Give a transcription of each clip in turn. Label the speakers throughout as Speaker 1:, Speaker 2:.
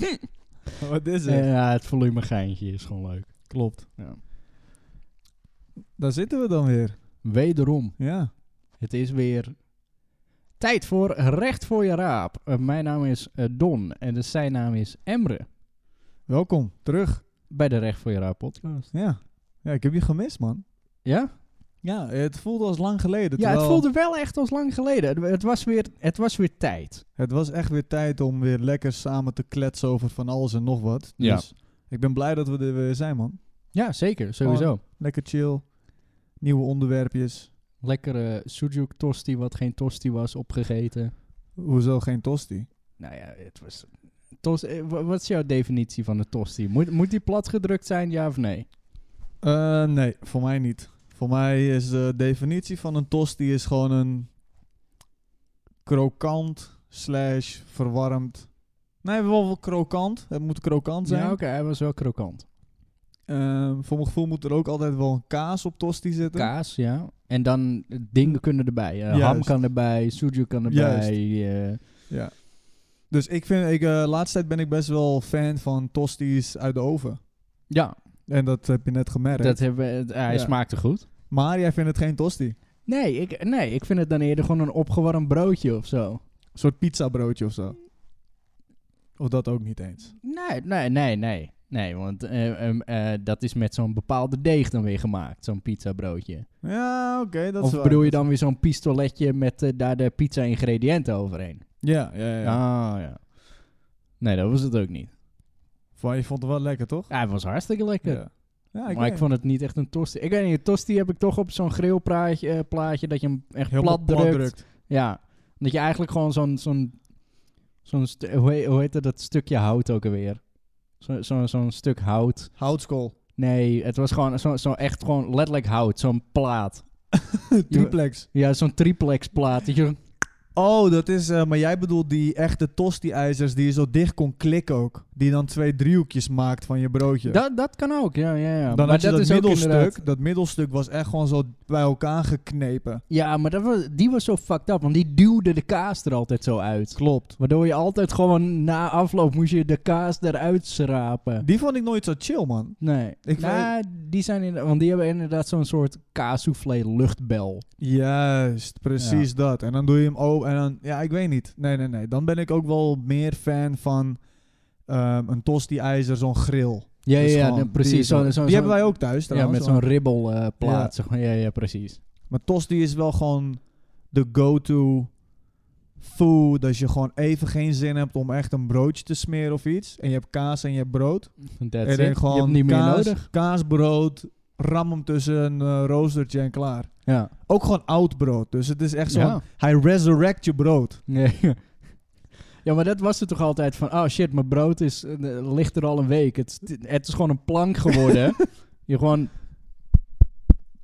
Speaker 1: Wat is het?
Speaker 2: Ja, het volume geintje is gewoon leuk.
Speaker 1: Klopt.
Speaker 2: Ja.
Speaker 1: Daar zitten we dan weer.
Speaker 2: Wederom,
Speaker 1: Ja.
Speaker 2: het is weer tijd voor Recht voor je Raap. Eh, mijn naam is eh, Don en dus zijn naam is Emre
Speaker 1: Welkom terug.
Speaker 2: bij de Recht voor je Raap podcast.
Speaker 1: Ja. Ja, ik heb je gemist, man.
Speaker 2: Ja?
Speaker 1: Ja, het voelde als lang geleden.
Speaker 2: Ja, het
Speaker 1: terwijl
Speaker 2: voelde wel echt als lang geleden. Het, het was, weer, het was weer tijd.
Speaker 1: het was echt weer tijd om weer lekker samen te kletsen over van alles en nog wat.
Speaker 2: Ja.
Speaker 1: Dus ik ben blij dat we er weer zijn, man.
Speaker 2: Ja, zeker, sowieso.
Speaker 1: Lekker chill. Nieuwe onderwerpjes.
Speaker 2: Lekkere sujuk tosti, wat geen tosti was, opgegeten.
Speaker 1: Hoezo geen tosti?
Speaker 2: Nou ja, het was... Tos, eh, wa- wat is jouw definitie van een tosti? Moet, moet die platgedrukt zijn, ja of nee?
Speaker 1: Eh, nee, voor mij niet. Voor mij is eh, de definitie van een tosti is gewoon een krokant slash verwarmd. Nee, wel wel krokant. Het moet krokant zijn.
Speaker 2: Ja, oké, hij was wel krokant.
Speaker 1: Ehm, voor mijn gevoel moet er ook altijd wel een kaas op tosti zitten.
Speaker 2: Kaas, ja. En dan eh, dingen kunnen erbij. Eh, ham
Speaker 1: Juist.
Speaker 2: kan erbij, sujuk kan erbij. eh,
Speaker 1: ja. Dus ik vind, ik, eh laatst tijd ben ik best wel fan van tosti's uit de oven.
Speaker 2: ja,
Speaker 1: En dat heb je net gemerkt.
Speaker 2: dat hebben, we- het- hij
Speaker 1: Ja.
Speaker 2: smaakte goed.
Speaker 1: Maar jij vindt het geen tosti. Een
Speaker 2: Nee ik, nee, ik vind het dan eerder gewoon een opgewarmd broodje of zo.
Speaker 1: soort pizzabroodje of zo. Of dat ook niet eens.
Speaker 2: Nee, nee, nee, nee. Nee, want eh, em, eh, dat is met zo'n bepaalde deeg dan weer gemaakt, zo'n pizzabroodje.
Speaker 1: Ja, oké, dat is
Speaker 2: Of
Speaker 1: waar.
Speaker 2: bedoel je dan weer zo'n pistoletje met eh, daar de pizza-ingrediënten overheen?
Speaker 1: Ja, ja, ja.
Speaker 2: Ah, ja. Nee, dat was het ook niet.
Speaker 1: Van, je vond het wel lekker, toch?
Speaker 2: Ja, het was hartstikke lekker.
Speaker 1: Ja. Ja, Ah, ik
Speaker 2: maar ik
Speaker 1: vond
Speaker 2: vond het niet echt een tosti. Ik weet niet, een tosti heb ik toch op zo'n grillplaatje eh, plaatje dat je hem echt
Speaker 1: heel
Speaker 2: plat, drukt. Ja, dat je eigenlijk gewoon zo'n, zo'n, zo'n stu- hoe, he- hoe heette dat stukje hout ook alweer? Zo, zo, zo'n stuk hout.
Speaker 1: Houtskool.
Speaker 2: Nee, het was gewoon zo'n zo echt gewoon letterlijk hout, zo'n plaat.
Speaker 1: Triplex.
Speaker 2: Ja, zo'n triplex plaat. Dat je,
Speaker 1: Oh, dat is... eh, maar jij bedoelt die echte tosti-ijzers die je zo dicht kon klikken ook. Die dan twee driehoekjes maakt van je broodje.
Speaker 2: dat, dat kan ook, ja, ja, ja.
Speaker 1: dan
Speaker 2: maar
Speaker 1: had je dat,
Speaker 2: is ook inderdaad-
Speaker 1: middelstuk. Dat middelstuk was echt gewoon zo bij elkaar geknepen.
Speaker 2: Ja, maar dat was, die was zo fucked up, want die duwde de kaas er altijd zo uit.
Speaker 1: Klopt.
Speaker 2: Waardoor je altijd gewoon na afloop moest je de kaas eruit schrapen.
Speaker 1: Die vond ik nooit zo chill, man.
Speaker 2: Nee.
Speaker 1: Ik
Speaker 2: Nou, die zijn inderdaad, want die hebben inderdaad zo'n soort kaassoufflé luchtbel.
Speaker 1: Juist, precies dat. En dan doe je hem oh en dan... Ja, ik weet niet. Nee, nee, nee. Dan ben ik ook wel meer fan van ehm, een tosti-ijzer, zo'n grill.
Speaker 2: Ja,
Speaker 1: Dus
Speaker 2: ja, ja,
Speaker 1: gewoon
Speaker 2: nee, precies.
Speaker 1: Die,
Speaker 2: zo,
Speaker 1: die
Speaker 2: zo- zo-
Speaker 1: hebben wij ook thuis
Speaker 2: Ja,
Speaker 1: trouwens.
Speaker 2: met
Speaker 1: maar-
Speaker 2: zo'n ribbel eh, plaat. zeg maar. Ja, ja, precies.
Speaker 1: Maar tosti is wel gewoon de go-to food. Als je gewoon even geen zin hebt om echt een broodje te smeren of iets. En je hebt kaas en je hebt brood.
Speaker 2: That's
Speaker 1: en
Speaker 2: it.
Speaker 1: dan
Speaker 2: Je hebt
Speaker 1: gewoon
Speaker 2: niet meer
Speaker 1: kaas,
Speaker 2: nodig.
Speaker 1: kaasbrood, ram hem tussen een eh, roostertje en klaar.
Speaker 2: Ja.
Speaker 1: Ook gewoon oud brood. Dus het is echt zo.
Speaker 2: Ja.
Speaker 1: Hij resurrect je brood.
Speaker 2: Nee. ja, maar dat was het toch altijd van... Oh shit, mijn brood is, eh, ligt er al een week. Het, is- het is gewoon een plank geworden. je gewoon...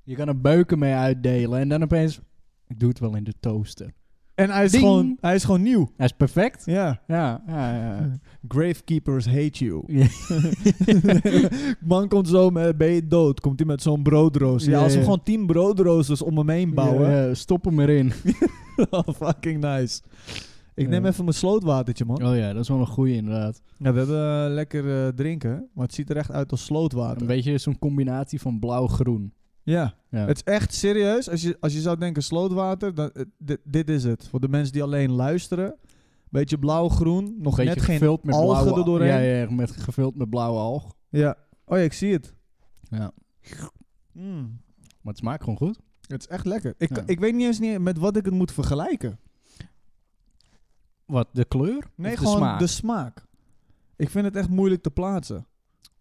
Speaker 2: Je kan er beuken mee uitdelen. En dan opeens... Ik doe het wel in de toaster.
Speaker 1: En hij is,
Speaker 2: Ding.
Speaker 1: gewoon, hij is gewoon nieuw.
Speaker 2: Hij is perfect.
Speaker 1: Ja.
Speaker 2: Ja, ja, ja.
Speaker 1: Gravekeepers hate you.
Speaker 2: ja.
Speaker 1: Man komt zo met, ben je dood? Komt hij met zo'n broodrooster? Ja,
Speaker 2: Ja,
Speaker 1: als we
Speaker 2: ja.
Speaker 1: gewoon tien broodroosters om hem heen bouwen.
Speaker 2: Ja, ja, stop hem erin.
Speaker 1: Oh, fucking nice. Ik
Speaker 2: Ja.
Speaker 1: neem even mijn slootwatertje, man.
Speaker 2: Oh ja, dat is wel een goeie inderdaad.
Speaker 1: Ja, we hebben eh, lekker eh, drinken, maar het ziet er echt uit als slootwater.
Speaker 2: Een beetje zo'n combinatie van blauw-groen.
Speaker 1: ja.
Speaker 2: Ja.
Speaker 1: het is echt serieus. Als je, als je zou denken slootwater, dan, eh, dit, dit is het. Voor de mensen die alleen luisteren. Beetje blauw-groen, nog
Speaker 2: Beetje
Speaker 1: net geen...
Speaker 2: gevuld met
Speaker 1: algen
Speaker 2: blauwe,
Speaker 1: er doorheen.
Speaker 2: Ja, ja, met, gevuld met blauwe alg.
Speaker 1: Ja. Oh ja, ik zie het.
Speaker 2: Ja.
Speaker 1: Mm.
Speaker 2: Maar het smaakt gewoon goed.
Speaker 1: Het is echt lekker. Ik,
Speaker 2: Ja.
Speaker 1: ik weet niet eens niet met wat ik het moet vergelijken.
Speaker 2: Wat, de kleur?
Speaker 1: Nee,
Speaker 2: Of
Speaker 1: gewoon
Speaker 2: de smaak?
Speaker 1: Ik vind het echt moeilijk te plaatsen.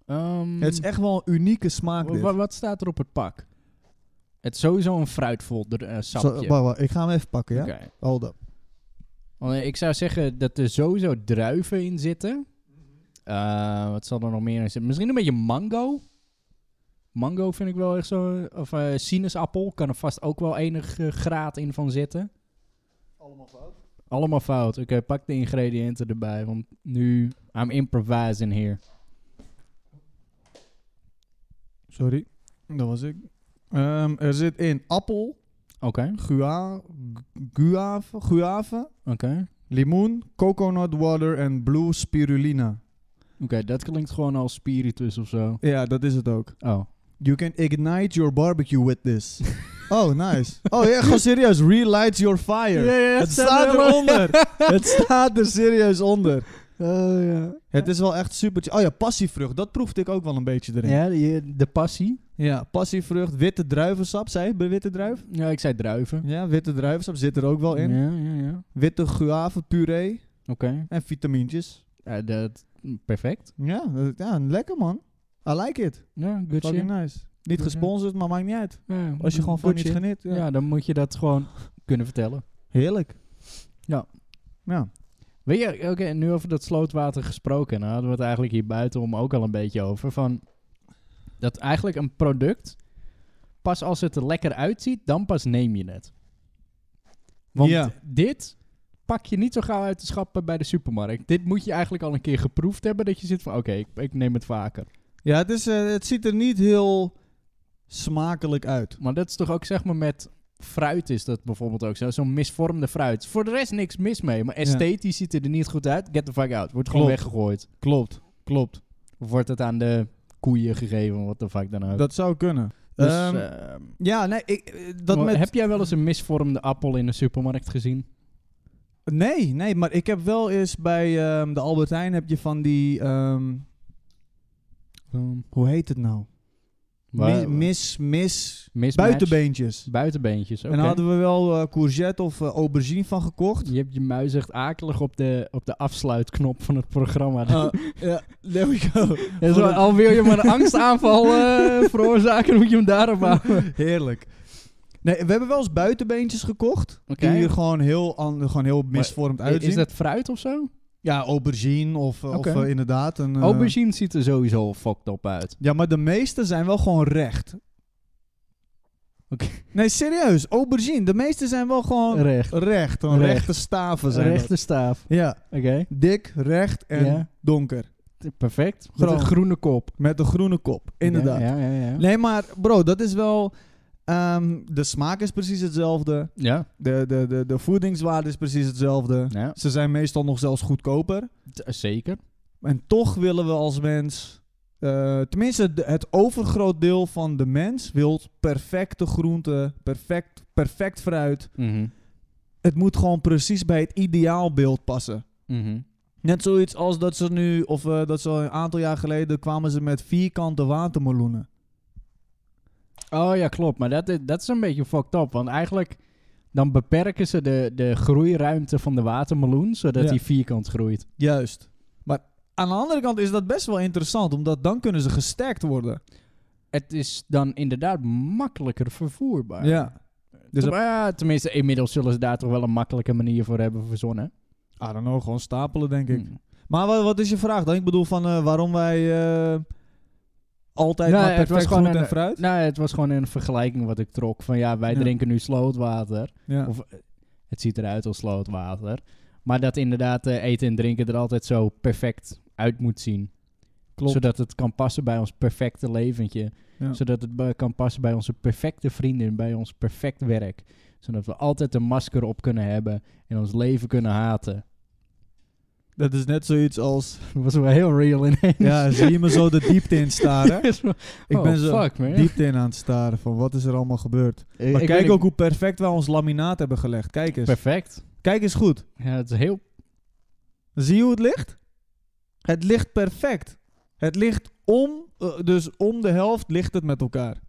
Speaker 2: Ehm,
Speaker 1: Het is echt wel een unieke smaak,
Speaker 2: wa-
Speaker 1: dit.
Speaker 2: wa- wat staat er op het pak? Het is sowieso een fruitvol dr- eh, sapje.
Speaker 1: Zo, wacht, wacht, ik ga hem even pakken, ja?
Speaker 2: Oké.
Speaker 1: Hold up.
Speaker 2: Want, eh, Ik zou zeggen dat er sowieso druiven in zitten. Eh, wat zal er nog meer in zitten? Misschien een beetje mango. Mango vind ik wel echt zo. Of eh, sinaasappel. Kan er vast ook wel enig eh, graad in van zitten.
Speaker 1: Allemaal fout.
Speaker 2: Allemaal fout. Oké, pak de ingrediënten erbij. Want nu, I'm improvising here.
Speaker 1: Sorry, dat was ik. Ehm, er zit in appel,
Speaker 2: Oké,
Speaker 1: gua, gu- guave, guave,
Speaker 2: oké.
Speaker 1: Limoen, coconut water en blue spirulina.
Speaker 2: Oké, dat klinkt gewoon als spiritus of zo.
Speaker 1: Ja, dat is het ook.
Speaker 2: Oh.
Speaker 1: You can ignite your barbecue with this. oh, nice. Oh ja, gewoon serieus. Relight your fire. het
Speaker 2: nou
Speaker 1: staat eronder. het staat er serieus onder.
Speaker 2: Oh, ja.
Speaker 1: Het is wel echt super. Oh ja, passievrucht. Dat proefde ik ook wel een beetje erin. Ja,
Speaker 2: Ja, die- de passie.
Speaker 1: passievrucht, witte druivensap. Zei je bij witte druif?
Speaker 2: Ja, ik zei druiven.
Speaker 1: Ja, witte druivensap zit er ook wel in.
Speaker 2: Ja, ja, ja.
Speaker 1: Witte guavepuree
Speaker 2: Oké.
Speaker 1: en vitamintjes.
Speaker 2: Ja, dat, perfect.
Speaker 1: Ja, dat- ja, lekker man. I like it.
Speaker 2: Ja, good shit.
Speaker 1: Fucking nice. Niet
Speaker 2: Good shit.
Speaker 1: gesponsord, maar maakt niet uit.
Speaker 2: Ja,
Speaker 1: Als je gewoon van
Speaker 2: good
Speaker 1: iets
Speaker 2: shit.
Speaker 1: geniet. Ja.
Speaker 2: Ja, dan moet je dat gewoon kunnen vertellen.
Speaker 1: Heerlijk.
Speaker 2: Ja.
Speaker 1: Ja.
Speaker 2: Weet je, oké, nu over dat slootwater gesproken. Nou hadden we het eigenlijk hier buiten om ook al een beetje over. Van dat eigenlijk een product, pas als het er lekker uitziet, dan pas neem je het. Want
Speaker 1: Ja.
Speaker 2: dit pak je niet zo gauw uit de schappen bij de supermarkt. Dit moet je eigenlijk al een keer geproefd hebben. Dat je zit van, oké, ik, ik neem het vaker.
Speaker 1: Ja, het, is, eh, het ziet er niet heel smakelijk uit.
Speaker 2: Maar dat is toch ook zeg maar met fruit is dat bijvoorbeeld ook zo. Zo'n misvormde fruit. Voor de rest niks mis mee. Maar esthetisch ziet het er niet goed uit. Get the fuck out. Wordt gewoon
Speaker 1: Klopt.
Speaker 2: weggegooid.
Speaker 1: Klopt, klopt.
Speaker 2: Of wordt het aan de koeien gegeven, wat de fuck dan ook.
Speaker 1: Dat zou kunnen.
Speaker 2: Dus,
Speaker 1: Ehm,
Speaker 2: ehm,
Speaker 1: ja, nee, ik, eh, dat
Speaker 2: maar
Speaker 1: met...
Speaker 2: Heb jij wel eens een misvormde appel in de supermarkt gezien?
Speaker 1: Nee, nee, maar ik heb wel eens bij ehm, de Albert Heijn heb je van die... ehm, hoe heet het nou? Mi-
Speaker 2: Waar-
Speaker 1: mis, mis...
Speaker 2: mismatch?
Speaker 1: Buitenbeentjes.
Speaker 2: Buitenbeentjes, oké.
Speaker 1: En daar hadden we wel eh, courgette of eh, aubergine van gekocht.
Speaker 2: Je hebt je muis echt akelig op de, op de afsluitknop van het programma.
Speaker 1: Eh, ja, there we go.
Speaker 2: En zo, al wil je maar een angstaanval eh, veroorzaken, moet je hem daarop houden.
Speaker 1: Heerlijk. Nee, we hebben wel eens buitenbeentjes gekocht.
Speaker 2: Oké.
Speaker 1: Die er gewoon heel, an- gewoon heel misvormd uitzien.
Speaker 2: Is dat fruit of zo?
Speaker 1: Ja, aubergine of, eh,
Speaker 2: Oké.
Speaker 1: of eh, inderdaad een... eh,
Speaker 2: Aubergine ziet er sowieso al fucked op uit.
Speaker 1: Ja, maar de meeste zijn wel gewoon recht.
Speaker 2: Oké.
Speaker 1: Nee, serieus. Aubergine. De meeste zijn wel gewoon recht.
Speaker 2: Recht.
Speaker 1: gewoon
Speaker 2: Recht.
Speaker 1: rechte staven Oh. zijn dat.
Speaker 2: Rechte staaf.
Speaker 1: Ja,
Speaker 2: Oké.
Speaker 1: dik, recht en
Speaker 2: Ja.
Speaker 1: donker.
Speaker 2: Perfect. Met
Speaker 1: Groen.
Speaker 2: een groene kop.
Speaker 1: Met een groene kop, inderdaad.
Speaker 2: Ja, ja, ja. Ja.
Speaker 1: Nee, maar bro, dat is wel... ehm, de smaak is precies hetzelfde.
Speaker 2: ja.
Speaker 1: De, de, de, de voedingswaarde is precies hetzelfde.
Speaker 2: ja.
Speaker 1: Ze zijn meestal nog zelfs goedkoper.
Speaker 2: t- eh, Zeker.
Speaker 1: En toch willen we als mens... eh, tenminste, de- het overgroot deel van de mens wil perfecte groenten, perfect, perfect fruit.
Speaker 2: Mhm.
Speaker 1: Het moet gewoon precies bij het ideaalbeeld passen.
Speaker 2: Mhm.
Speaker 1: Net zoiets als dat ze nu, of eh, dat ze een aantal jaar geleden kwamen ze met vierkante watermeloenen.
Speaker 2: Oh ja, klopt. Maar dat, is- dat is een beetje fucked up. Want eigenlijk dan beperken ze de, de groeiruimte van de watermeloen, zodat
Speaker 1: Ja.
Speaker 2: die vierkant groeit.
Speaker 1: Juist. Maar aan de andere kant is dat best wel interessant, omdat dan kunnen ze gesterkt worden.
Speaker 2: Het is dan inderdaad makkelijker vervoerbaar.
Speaker 1: Ja. Dus
Speaker 2: Dus tenminste, inmiddels zullen ze daar toch wel een makkelijke manier voor hebben verzonnen.
Speaker 1: I don't know, gewoon stapelen denk ik.
Speaker 2: Hmm.
Speaker 1: Maar wat, wat is je vraag dan? Ik bedoel van eh, waarom wij eh, altijd
Speaker 2: Nee,
Speaker 1: maar
Speaker 2: het was
Speaker 1: perfect
Speaker 2: gewoon
Speaker 1: groente
Speaker 2: een-
Speaker 1: en fruit?
Speaker 2: Nou, het was gewoon een vergelijking wat ik trok. Van ja, wij
Speaker 1: Ja.
Speaker 2: drinken nu slootwater.
Speaker 1: Ja.
Speaker 2: Of eh, het ziet eruit als slootwater. Maar dat inderdaad eh, eten en drinken er altijd zo perfect uit moet zien.
Speaker 1: Klopt.
Speaker 2: Zodat het kan passen bij ons perfecte leventje.
Speaker 1: Ja.
Speaker 2: Zodat het bij- kan passen bij onze perfecte vrienden, bij ons perfect werk. Zodat we altijd een masker op kunnen hebben en ons leven kunnen haten.
Speaker 1: Dat is net zoiets als...
Speaker 2: Dat was wel heel real ineens.
Speaker 1: Ja, zie je me zo de diepte in staren? Ik
Speaker 2: Oh,
Speaker 1: ben zo
Speaker 2: fuck, man.
Speaker 1: diepte in aan het staren van wat is er allemaal gebeurd.
Speaker 2: Eh,
Speaker 1: Maar
Speaker 2: ik
Speaker 1: kijk
Speaker 2: weet
Speaker 1: ook
Speaker 2: niet-
Speaker 1: hoe perfect wij ons laminaat hebben gelegd. Kijk eens.
Speaker 2: Perfect.
Speaker 1: Kijk eens goed.
Speaker 2: Ja, het is heel...
Speaker 1: Zie je hoe het ligt? Het ligt perfect. Het ligt om, eh, dus om de helft ligt het met elkaar.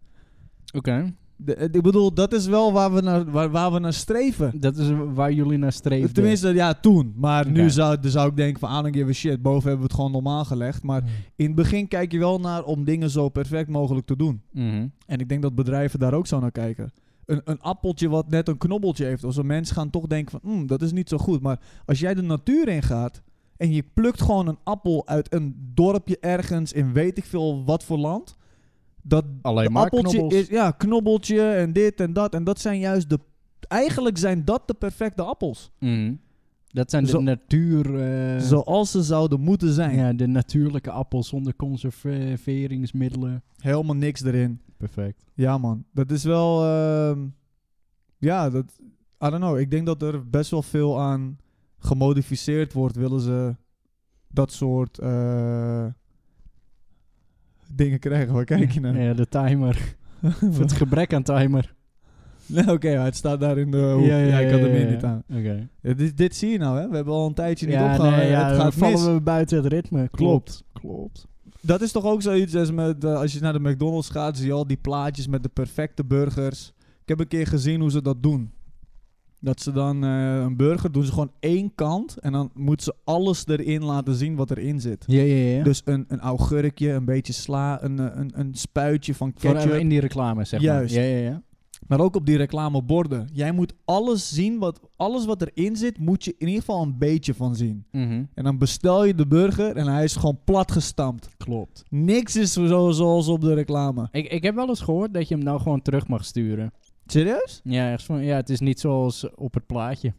Speaker 2: Oké.
Speaker 1: De- eh, ik bedoel, dat is wel waar we naar, waar, waar we naar streven.
Speaker 2: Dat is waar jullie naar streven.
Speaker 1: Tenminste, ja, toen. Maar nu
Speaker 2: Oké.
Speaker 1: zou, dan zou ik denken van, aan een keer weer shit, boven hebben we het gewoon normaal gelegd. Maar in het begin kijk je wel naar om dingen zo perfect mogelijk te doen.
Speaker 2: Mhm.
Speaker 1: En ik denk dat bedrijven daar ook zo naar kijken. Een, een appeltje wat net een knobbeltje heeft. Als een mens gaan toch denken van, "Mm, dat is niet zo goed. Maar als jij de natuur ingaat en je plukt gewoon een appel uit een dorpje ergens in weet ik veel wat voor land. Dat
Speaker 2: Alleen
Speaker 1: de
Speaker 2: maar
Speaker 1: appeltje
Speaker 2: knobbels.
Speaker 1: is, ja, knobbeltje en dit en dat. En dat zijn juist de, eigenlijk zijn dat de perfecte appels.
Speaker 2: Mhm. Dat zijn de
Speaker 1: Zo-
Speaker 2: natuur... eh,
Speaker 1: Zoals ze zouden moeten zijn.
Speaker 2: ja, de natuurlijke appels zonder conserveringsmiddelen.
Speaker 1: Helemaal niks erin.
Speaker 2: Perfect.
Speaker 1: Ja, man. Dat is wel. ehm, ja, dat. I don't know. Ik denk dat er best wel veel aan gemodificeerd wordt, willen ze dat soort eh, dingen krijgen. Waar kijk je naar?
Speaker 2: Ja, de timer. Of het gebrek aan timer.
Speaker 1: Nee, Nou, Oké, maar het staat daar in de hoek. Ja,
Speaker 2: Ja, ja,
Speaker 1: ik had
Speaker 2: ja,
Speaker 1: hem
Speaker 2: ja,
Speaker 1: hier
Speaker 2: ja.
Speaker 1: niet aan.
Speaker 2: Oké.
Speaker 1: Ja, dit, dit zie je nou, hè? We hebben al een tijdje niet
Speaker 2: Ja,
Speaker 1: opgehouden.
Speaker 2: nee, ja,
Speaker 1: eh, het gaat
Speaker 2: dan vallen
Speaker 1: mis.
Speaker 2: we buiten het ritme.
Speaker 1: Klopt.
Speaker 2: Klopt.
Speaker 1: Dat is toch ook zoiets als, met, eh, als je naar de McDonald's gaat, zie je al die plaatjes met de perfecte burgers. Ik heb een keer gezien hoe ze dat doen. Dat ze dan eh, een burger doen, ze gewoon één kant en dan moeten ze alles erin laten zien wat erin zit.
Speaker 2: Ja, ja, ja.
Speaker 1: Dus een, een augurkje, een beetje sla, een, eh, een, een spuitje van
Speaker 2: Voor-
Speaker 1: ketchup.
Speaker 2: in die reclame, zeg
Speaker 1: Juist.
Speaker 2: maar. Ja, ja, ja.
Speaker 1: Maar ook op die reclameborden. Jij moet alles zien, wat, alles wat erin zit, moet je in ieder geval een beetje van zien.
Speaker 2: Mhm.
Speaker 1: En dan bestel je de burger en hij is gewoon plat gestampt.
Speaker 2: Klopt.
Speaker 1: Niks is zo, zoals op de reclame.
Speaker 2: Ik, ik heb wel eens gehoord dat je hem nou gewoon terug mag sturen.
Speaker 1: Serieus?
Speaker 2: Ja, ergens van, ja, het is niet zoals op het plaatje.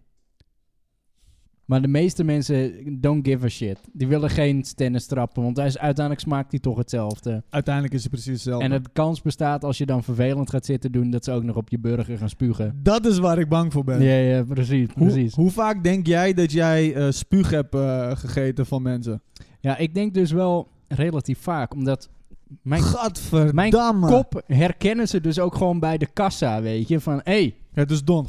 Speaker 2: Maar de meeste mensen don't give a shit. Die willen geen stennis trappen, want hij is, uiteindelijk smaakt hij toch hetzelfde.
Speaker 1: Uiteindelijk is het precies hetzelfde.
Speaker 2: En het kans bestaat als je dan vervelend gaat zitten doen, dat ze ook nog op je burger gaan spugen.
Speaker 1: Dat is waar ik bang voor ben.
Speaker 2: Ja, ja, precies,
Speaker 1: Hoe,
Speaker 2: precies.
Speaker 1: hoe vaak denk jij dat jij eh spuug hebt eh, gegeten van mensen?
Speaker 2: Ja, ik denk dus wel relatief vaak, omdat mijn
Speaker 1: Gadverdamme.
Speaker 2: kop herkennen ze dus ook gewoon bij de kassa, weet je. Van, hé, hey,
Speaker 1: Het is don.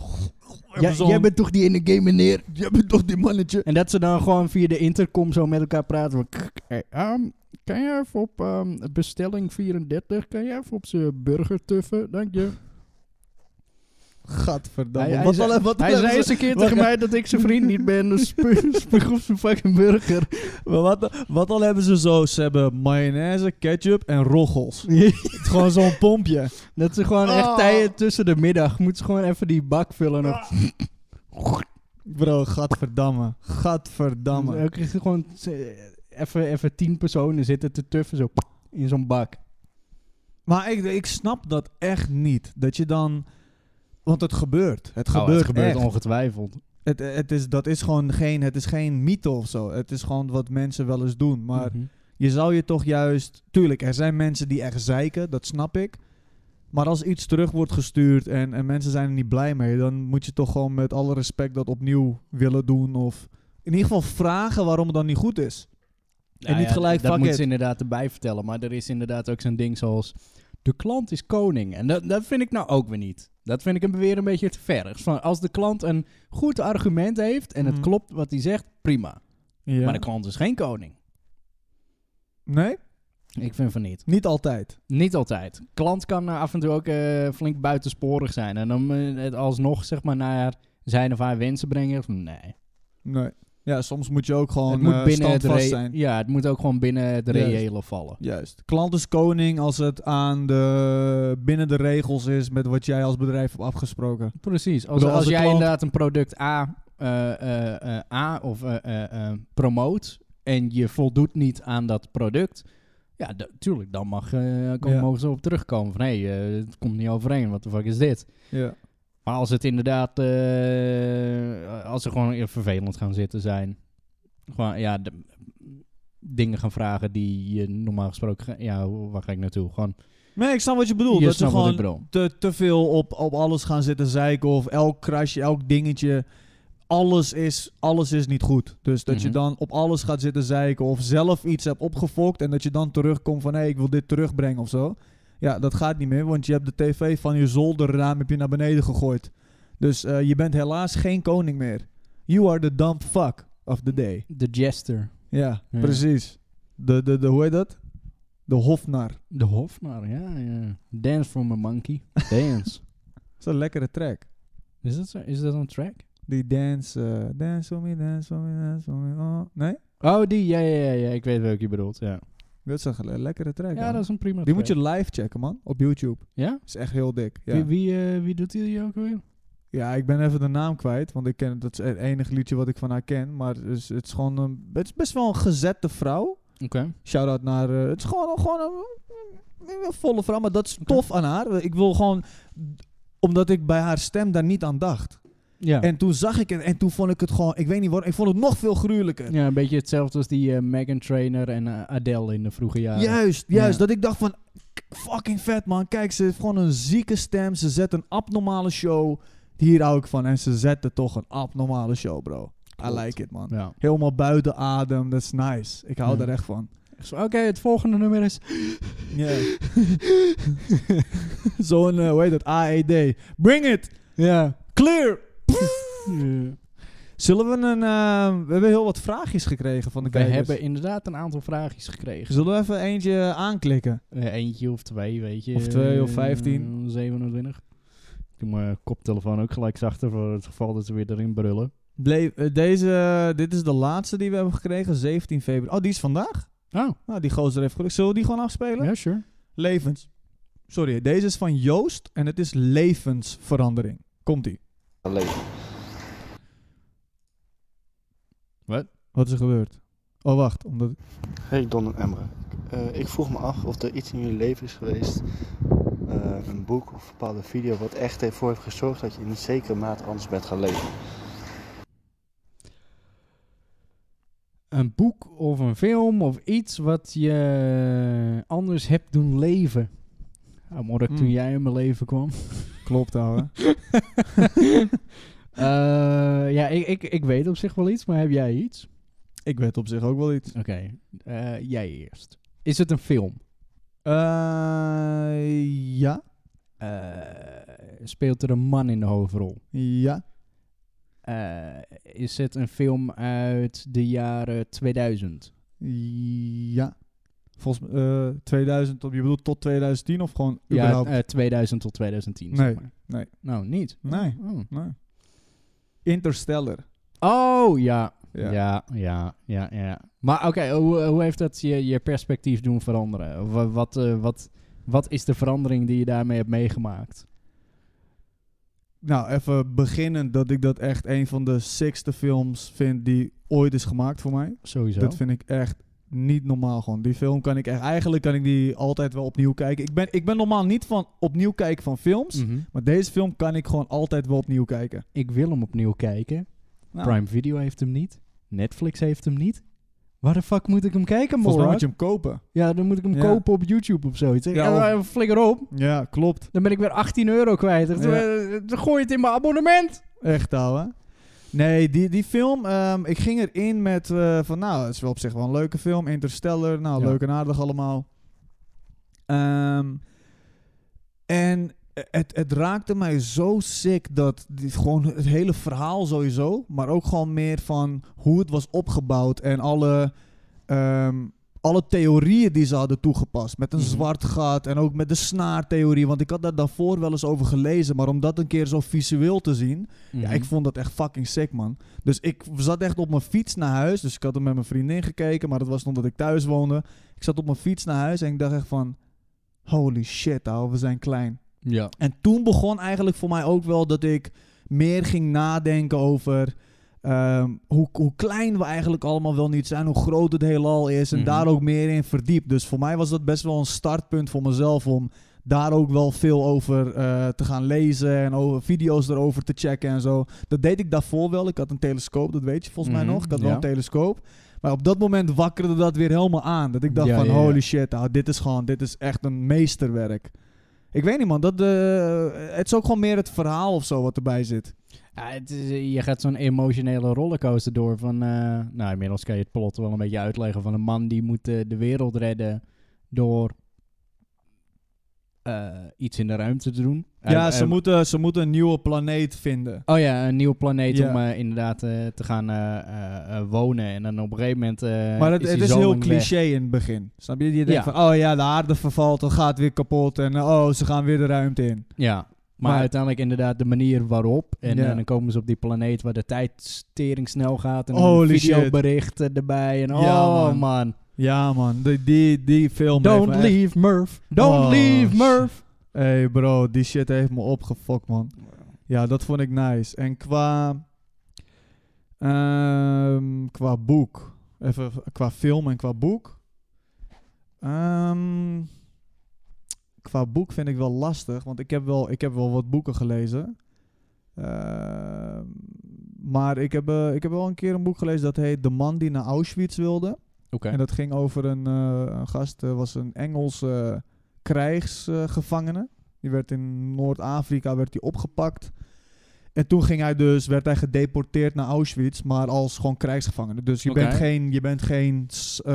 Speaker 2: Ja,
Speaker 1: Even zo'n-
Speaker 2: jij bent toch die ene game meneer?
Speaker 1: jij bent toch die mannetje?
Speaker 2: En dat ze dan gewoon via de intercom zo met elkaar praten. Van, "Kk, hey, ehm, kan je even op ehm, bestelling 34, kan je even op zijn burger tuffen? Dank je.
Speaker 1: Gadverdamme.
Speaker 2: hij,
Speaker 1: wat
Speaker 2: zei,
Speaker 1: al- wat al-
Speaker 2: hij zei eens een keer
Speaker 1: Wacht,
Speaker 2: tegen mij dat ik zijn vriend niet ben. Dus spu- spuug op zijn fucking burger.
Speaker 1: Maar wat, wat al hebben ze zo? Ze hebben mayonaise, ketchup en roggels. Het is gewoon zo'n pompje.
Speaker 2: dat ze gewoon echt
Speaker 1: Oh. Ah.
Speaker 2: tijden tussen de middag. Moeten ze gewoon even die bak vullen. nog.
Speaker 1: Bro, gadverdamme. Gadverdamme.
Speaker 2: Dan krijg je gewoon ze- even, even tien personen zitten te tuffen zo in zo'n bak.
Speaker 1: Maar ik, ik snap dat echt niet. Dat je dan... Want het gebeurt. Oh, Het gebeurt, echt.
Speaker 2: ongetwijfeld.
Speaker 1: Het, het is, dat is gewoon geen, het is geen mythe of zo. Het is gewoon wat mensen wel eens doen. Maar
Speaker 2: Mhm.
Speaker 1: je zou je toch juist... Tuurlijk, er zijn mensen die echt zeiken. Dat snap ik. Maar als iets terug wordt gestuurd en, en mensen zijn er niet blij mee... dan moet je toch gewoon met alle respect dat opnieuw willen doen. Of in ieder geval vragen waarom het dan niet goed is.
Speaker 2: Nou
Speaker 1: niet
Speaker 2: ja,
Speaker 1: gelijk,
Speaker 2: Dat
Speaker 1: fuck
Speaker 2: moet
Speaker 1: it.
Speaker 2: ze inderdaad erbij vertellen. Maar er is inderdaad ook zo'n ding zoals... De klant is koning. En dat, dat vind ik nou ook weer niet. Dat vind ik hem weer een beetje te ver. Dus Van, als de klant een goed argument heeft en het
Speaker 1: Mhm.
Speaker 2: klopt wat hij zegt, prima.
Speaker 1: Ja.
Speaker 2: Maar de klant is geen koning.
Speaker 1: Nee,
Speaker 2: Ik vind van niet.
Speaker 1: niet altijd.
Speaker 2: Niet altijd. Klant kan eh, af en toe ook eh, flink buitensporig zijn. En dan eh, het alsnog zeg maar naar zijn of haar wensen brengen. Nee.
Speaker 1: Nee. Ja, soms moet je ook gewoon
Speaker 2: het moet
Speaker 1: eh,
Speaker 2: binnen het
Speaker 1: standvast
Speaker 2: re-
Speaker 1: zijn.
Speaker 2: Ja, het moet ook gewoon binnen het
Speaker 1: Juist.
Speaker 2: reële vallen.
Speaker 1: Juist. Klant is koning als het aan de, binnen de regels is met wat jij als bedrijf hebt afgesproken.
Speaker 2: Precies. Als,
Speaker 1: bedoel,
Speaker 2: als,
Speaker 1: als de
Speaker 2: jij
Speaker 1: klant-
Speaker 2: inderdaad een product A, eh, eh, eh, A of eh, eh, eh, promoot en je voldoet niet aan dat product, ja, d- tuurlijk, dan mag, eh, kom-
Speaker 1: Ja.
Speaker 2: mogen ze op terugkomen van hé, hey, eh, het komt niet overeen, wat de fuck is dit?
Speaker 1: Ja.
Speaker 2: Maar als het inderdaad, eh, als ze gewoon heel vervelend gaan zitten zijn, gewoon ja, de- dingen gaan vragen die je normaal gesproken, ge- ja, hoe- waar ga ik naartoe? Gewoon,
Speaker 1: Nee, ik snap wat je bedoelt.
Speaker 2: je
Speaker 1: dat ze
Speaker 2: snapt wat ik
Speaker 1: gewoon
Speaker 2: bedoel.
Speaker 1: te, te veel op, op alles gaan zitten zeiken of elk krasje, elk dingetje. Alles is, alles is niet goed. Dus dat je
Speaker 2: Mhm.
Speaker 1: dan op alles gaat zitten zeiken of zelf iets hebt opgefokt en dat je dan terugkomt van hé, ik wil dit terugbrengen of zo. Ja, dat gaat niet meer, want je hebt de tv van je zolderraam heb je naar beneden gegooid. Dus eh, je bent helaas geen koning meer. You are the dumb fuck of the day.
Speaker 2: De jester,
Speaker 1: Ja,
Speaker 2: Ja.
Speaker 1: precies. De, de, de, hoe heet dat? De Hofnar. Dat
Speaker 2: De Hofnar, ja, ja. Dance from a Monkey. Dance.
Speaker 1: is een lekkere track.
Speaker 2: is, dat zo, is dat een track?
Speaker 1: Die dance, eh, dance for me, dance for me, dance for me. oh. Nee?
Speaker 2: Oh, die, ja, ja, ja, ja. Ik weet welke je bedoelt, ja.
Speaker 1: Dat is een gele- lekkere track.
Speaker 2: Ja,
Speaker 1: man.
Speaker 2: dat is een prima
Speaker 1: die moet je live checken, man. Op YouTube.
Speaker 2: Ja?
Speaker 1: Is echt heel dik. Ja.
Speaker 2: Wie, wie, eh, wie doet die ook weer?
Speaker 1: ja, ik ben even de naam kwijt, want ik ken, dat is het enige liedje wat ik van haar ken. Maar het is, het is gewoon een, het is best wel een gezette vrouw.
Speaker 2: Oké.
Speaker 1: Shout-out naar... eh, het is gewoon, gewoon een, een volle vrouw, maar dat is
Speaker 2: Oké.
Speaker 1: tof aan haar. Ik wil gewoon... Omdat ik bij haar stem daar niet aan dacht.
Speaker 2: Ja.
Speaker 1: En toen zag ik het en toen vond ik het gewoon, ik weet niet waarom, ik vond het nog veel gruwelijker.
Speaker 2: ja, een beetje hetzelfde als die eh, Megan Trainer en eh, Adele in de vroege jaren.
Speaker 1: Juist, juist.
Speaker 2: Ja.
Speaker 1: Dat ik dacht van, k- fucking vet man. Kijk, ze heeft gewoon een zieke stem. Ze zet een abnormale show. Hier hou ik van. En ze zette toch een abnormale show, bro. I like it, man.
Speaker 2: Ja.
Speaker 1: Helemaal buiten adem, that's nice. Ik hou
Speaker 2: Ja.
Speaker 1: daar echt van.
Speaker 2: Echt zo, Oké, het volgende nummer is...
Speaker 1: Ja. Zo'n, eh, hoe heet dat, AED. Bring it!
Speaker 2: Ja.
Speaker 1: Clear!
Speaker 2: Ja.
Speaker 1: Zullen we een... eh, we hebben heel wat vraagjes gekregen van de
Speaker 2: We
Speaker 1: kijkers.
Speaker 2: hebben inderdaad een aantal vraagjes gekregen.
Speaker 1: Zullen we even eentje aanklikken?
Speaker 2: Eh, Eentje of twee, weet je.
Speaker 1: Of twee of
Speaker 2: Eh,
Speaker 1: 15.
Speaker 2: 27. Ik doe mijn koptelefoon ook gelijk zachter voor het geval dat ze weer erin brullen.
Speaker 1: Bleef, eh, deze, dit is de laatste die we hebben gekregen, 17 februari. Oh, die is vandaag?
Speaker 2: Oh,
Speaker 1: Nou, die gozer heeft gelukt. Zullen we die gewoon afspelen?
Speaker 2: ja, sure.
Speaker 1: Levens. Sorry, deze is van Joost en het is levensverandering. Komt-ie.
Speaker 3: leven.
Speaker 1: Wat is er gebeurd? Oh, wacht. Omdat...
Speaker 3: Hey Don en Emre. Eh, ik vroeg me af of er iets in jullie leven is geweest, eh, een boek of een bepaalde video, wat echt ervoor heeft gezorgd dat je in een zekere mate anders bent gaan leven.
Speaker 2: een boek of een film of iets wat je anders hebt doen leven. Amork,
Speaker 1: Hmm.
Speaker 2: toen jij in mijn leven kwam.
Speaker 1: Klopt, ouwe.
Speaker 2: Eh, ja, ik, ik, ik weet op zich wel iets, maar heb jij iets?
Speaker 1: Ik weet op zich ook wel iets.
Speaker 2: Oké, eh, jij eerst. Is het een film?
Speaker 1: Eh, ja.
Speaker 2: Eh, speelt er een man in de hoofdrol?
Speaker 1: Ja.
Speaker 2: Eh, is het een film uit de jaren 2000?
Speaker 1: Ja. Volgens mij, eh, 2000 tot, je bedoelt tot 2010 of gewoon überhaupt?
Speaker 2: Ja, eh, 2000 tot 2010, zeg maar.
Speaker 1: nee.
Speaker 2: Nou, niet.
Speaker 1: nee,
Speaker 2: Oh.
Speaker 1: nee. Interstellar.
Speaker 2: Oh ja.
Speaker 1: Ja.
Speaker 2: Ja, ja, ja, ja. Maar oké, eh, hoe, hoe heeft dat je, je perspectief doen veranderen? Wa- Wat, eh, wat, wat is de verandering die je daarmee hebt meegemaakt?
Speaker 1: Nou, even beginnen dat ik dat echt een van de sixte films vind die ooit is gemaakt voor mij.
Speaker 2: Sowieso.
Speaker 1: Dat vind ik echt niet normaal gewoon. Die film kan ik echt, eigenlijk kan ik die altijd wel opnieuw kijken. Ik ben, ik ben normaal niet van opnieuw kijken van films.
Speaker 2: Mhm.
Speaker 1: Maar deze film kan ik gewoon altijd wel opnieuw kijken.
Speaker 2: Ik wil hem opnieuw kijken.
Speaker 1: Nou,
Speaker 2: Prime Video heeft hem niet. Netflix heeft hem niet. Waar de fuck moet ik hem kijken,
Speaker 1: Volgens mij
Speaker 2: Morak?
Speaker 1: moet je hem kopen.
Speaker 2: Ja, dan moet ik hem
Speaker 1: Ja.
Speaker 2: kopen op YouTube of zoiets.
Speaker 1: Ja,
Speaker 2: Ja, eh, flikker op.
Speaker 1: Ja, klopt.
Speaker 2: Dan ben ik weer 18 euro kwijt. Dan eh, dan gooi je het in mijn abonnement.
Speaker 1: Echt ouwe. Nee, die, die film, ehm, ik ging erin met eh, van nou, het is wel op zich wel een leuke film. Interstellar, nou,
Speaker 2: Ja.
Speaker 1: leuk en aardig allemaal. Ehm, en het, het raakte mij zo sick dat die, gewoon het hele verhaal sowieso, maar ook gewoon meer van hoe het was opgebouwd en alle, ehm, alle theorieën die ze hadden toegepast. Met een
Speaker 2: Mhm.
Speaker 1: zwart gat en ook met de snaartheorie, want ik had daar daarvoor wel eens over gelezen, maar om dat een keer zo visueel te zien, ja,
Speaker 2: Mhm.
Speaker 1: ik vond dat echt fucking sick, man. Dus ik zat echt op mijn fiets naar huis. Dus ik had hem met mijn vriendin gekeken, maar dat was omdat ik thuis woonde. Ik zat op mijn fiets naar huis en ik dacht echt van... Holy shit, ouwe, we zijn klein.
Speaker 2: Ja.
Speaker 1: En toen begon eigenlijk voor mij ook wel dat ik meer ging nadenken over... ehm, hoe, hoe klein we eigenlijk allemaal wel niet zijn, hoe groot het heelal is en
Speaker 2: Mhm.
Speaker 1: daar ook meer in verdiept. Dus voor mij was dat best wel een startpunt voor mezelf om daar ook wel veel over eh, te gaan lezen en over video's erover te checken en zo. Dat deed ik daarvoor wel. Ik had een telescoop, dat weet je volgens
Speaker 2: Mhm,
Speaker 1: mij nog. Ik had wel
Speaker 2: ja.
Speaker 1: een telescoop. Maar op dat moment wakkerde dat weer helemaal aan. Dat ik dacht
Speaker 2: Ja,
Speaker 1: van,
Speaker 2: ja, ja.
Speaker 1: holy shit, ah, dit is gewoon, dit is echt een meesterwerk. Ik weet niet man, dat, eh, het is ook gewoon meer het verhaal of zo wat erbij zit.
Speaker 2: Ja, het is- eh, je gaat zo'n emotionele rollercoaster door van... eh, nou, inmiddels kan je het plot wel een beetje uitleggen van een man die moet eh, de wereld redden door eh, iets in de ruimte te doen.
Speaker 1: ja,
Speaker 2: Hij-
Speaker 1: ze,
Speaker 2: hij-
Speaker 1: moeten, ze moeten een nieuwe planeet vinden.
Speaker 2: Oh ja, een nieuwe planeet
Speaker 1: Ja.
Speaker 2: om eh, inderdaad eh, te gaan eh, eh, eh, wonen. En dan op een gegeven moment eh,
Speaker 1: Maar het,
Speaker 2: is
Speaker 1: het
Speaker 2: hij
Speaker 1: is
Speaker 2: zo
Speaker 1: heel
Speaker 2: lang weg.
Speaker 1: cliché in het begin. Snap je? Je denkt
Speaker 2: Ja.
Speaker 1: van, oh ja, de aarde vervalt, dan gaat het weer kapot. En eh, oh, ze gaan weer de ruimte in.
Speaker 2: Ja, maar,
Speaker 1: Maar-
Speaker 2: uiteindelijk inderdaad de manier waarop. En
Speaker 1: Ja.
Speaker 2: eh, dan komen ze op die planeet waar de tijd stering snel gaat. En
Speaker 1: Holy
Speaker 2: een
Speaker 1: shit.
Speaker 2: videobericht eh, erbij. En
Speaker 1: Ja,
Speaker 2: oh
Speaker 1: man.
Speaker 2: man.
Speaker 1: Ja man, die, die, die film heeft me
Speaker 2: Don't
Speaker 1: echt-
Speaker 2: leave Murph. Don't
Speaker 1: Oh,
Speaker 2: leave
Speaker 1: shit.
Speaker 2: Murph.
Speaker 1: Hey bro, die shit heeft me opgefokt, man. Ja, dat vond ik nice. En qua, ehm, qua boek, even v- qua film en qua boek. Ehm, qua boek vind ik wel lastig, want ik heb wel, ik heb wel wat boeken gelezen. Ehm, maar ik heb, eh, ik heb wel een keer een boek gelezen dat heet De man die naar Auschwitz wilde.
Speaker 2: Oké.
Speaker 1: En dat ging over een, eh, een gast, eh, was een Engelse eh, krijgsgevangene. die werd in Noord-Afrika werd die opgepakt. En toen ging hij dus, werd hij gedeporteerd naar Auschwitz, maar als gewoon krijgsgevangene. Dus je
Speaker 2: Oké.
Speaker 1: bent geen, je bent geen s- eh,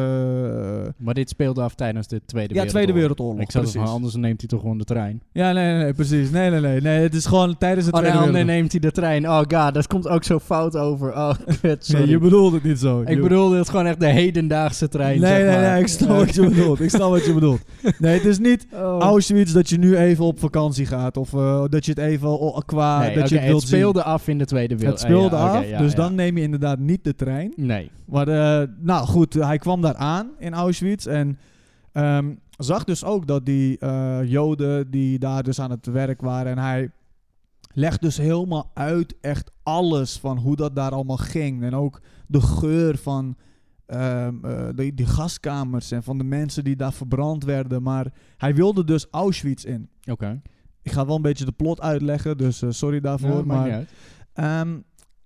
Speaker 2: Maar dit speelde af tijdens de Tweede
Speaker 1: ja,
Speaker 2: Wereldoorlog.
Speaker 1: Tweede Wereldoorlog.
Speaker 2: Ik zou
Speaker 1: precies.
Speaker 2: zeggen, anders neemt hij toch gewoon de trein.
Speaker 1: Ja, nee, nee, nee, precies. Nee, nee, nee, nee. Het is gewoon tijdens de
Speaker 2: Oh nee,
Speaker 1: Tweede
Speaker 2: anders
Speaker 1: Wereldoorlog.
Speaker 2: neemt hij de trein. Oh god, dat komt ook zo fout over. Oh, kut, sorry.
Speaker 1: Nee, je bedoelt het niet zo.
Speaker 2: ik
Speaker 1: Je-
Speaker 2: bedoelde het gewoon echt de hedendaagse trein,
Speaker 1: Nee,
Speaker 2: zeg
Speaker 1: nee,
Speaker 2: maar.
Speaker 1: nee, ik snap
Speaker 2: Eh,
Speaker 1: wat je bedoelt. Ik snap wat je bedoelt. Nee, het is niet
Speaker 2: oh.
Speaker 1: Auschwitz dat je nu even op vakantie gaat. Of eh, dat je het even o- qua...
Speaker 2: Nee,
Speaker 1: dat
Speaker 2: oké,
Speaker 1: je het wilt
Speaker 2: het speelde af in de Tweede
Speaker 1: zien. Het
Speaker 2: Wereldoorlog.
Speaker 1: speelde af, dus dan neem je inderdaad niet de trein.
Speaker 2: Nee.
Speaker 1: Maar eh, nou goed, hij kwam daar aan in Auschwitz en ehm, zag dus ook dat die eh, Joden die daar dus aan het werk waren en hij legt dus helemaal uit echt alles van hoe dat daar allemaal ging en ook de geur van ehm, eh, die, die gaskamers en van de mensen die daar verbrand werden. Maar hij wilde dus Auschwitz in.
Speaker 2: Oké.
Speaker 1: Ik ga wel een beetje de plot uitleggen, dus eh, sorry daarvoor.
Speaker 2: Ja, maakt
Speaker 1: maar
Speaker 2: niet uit.
Speaker 1: Ehm,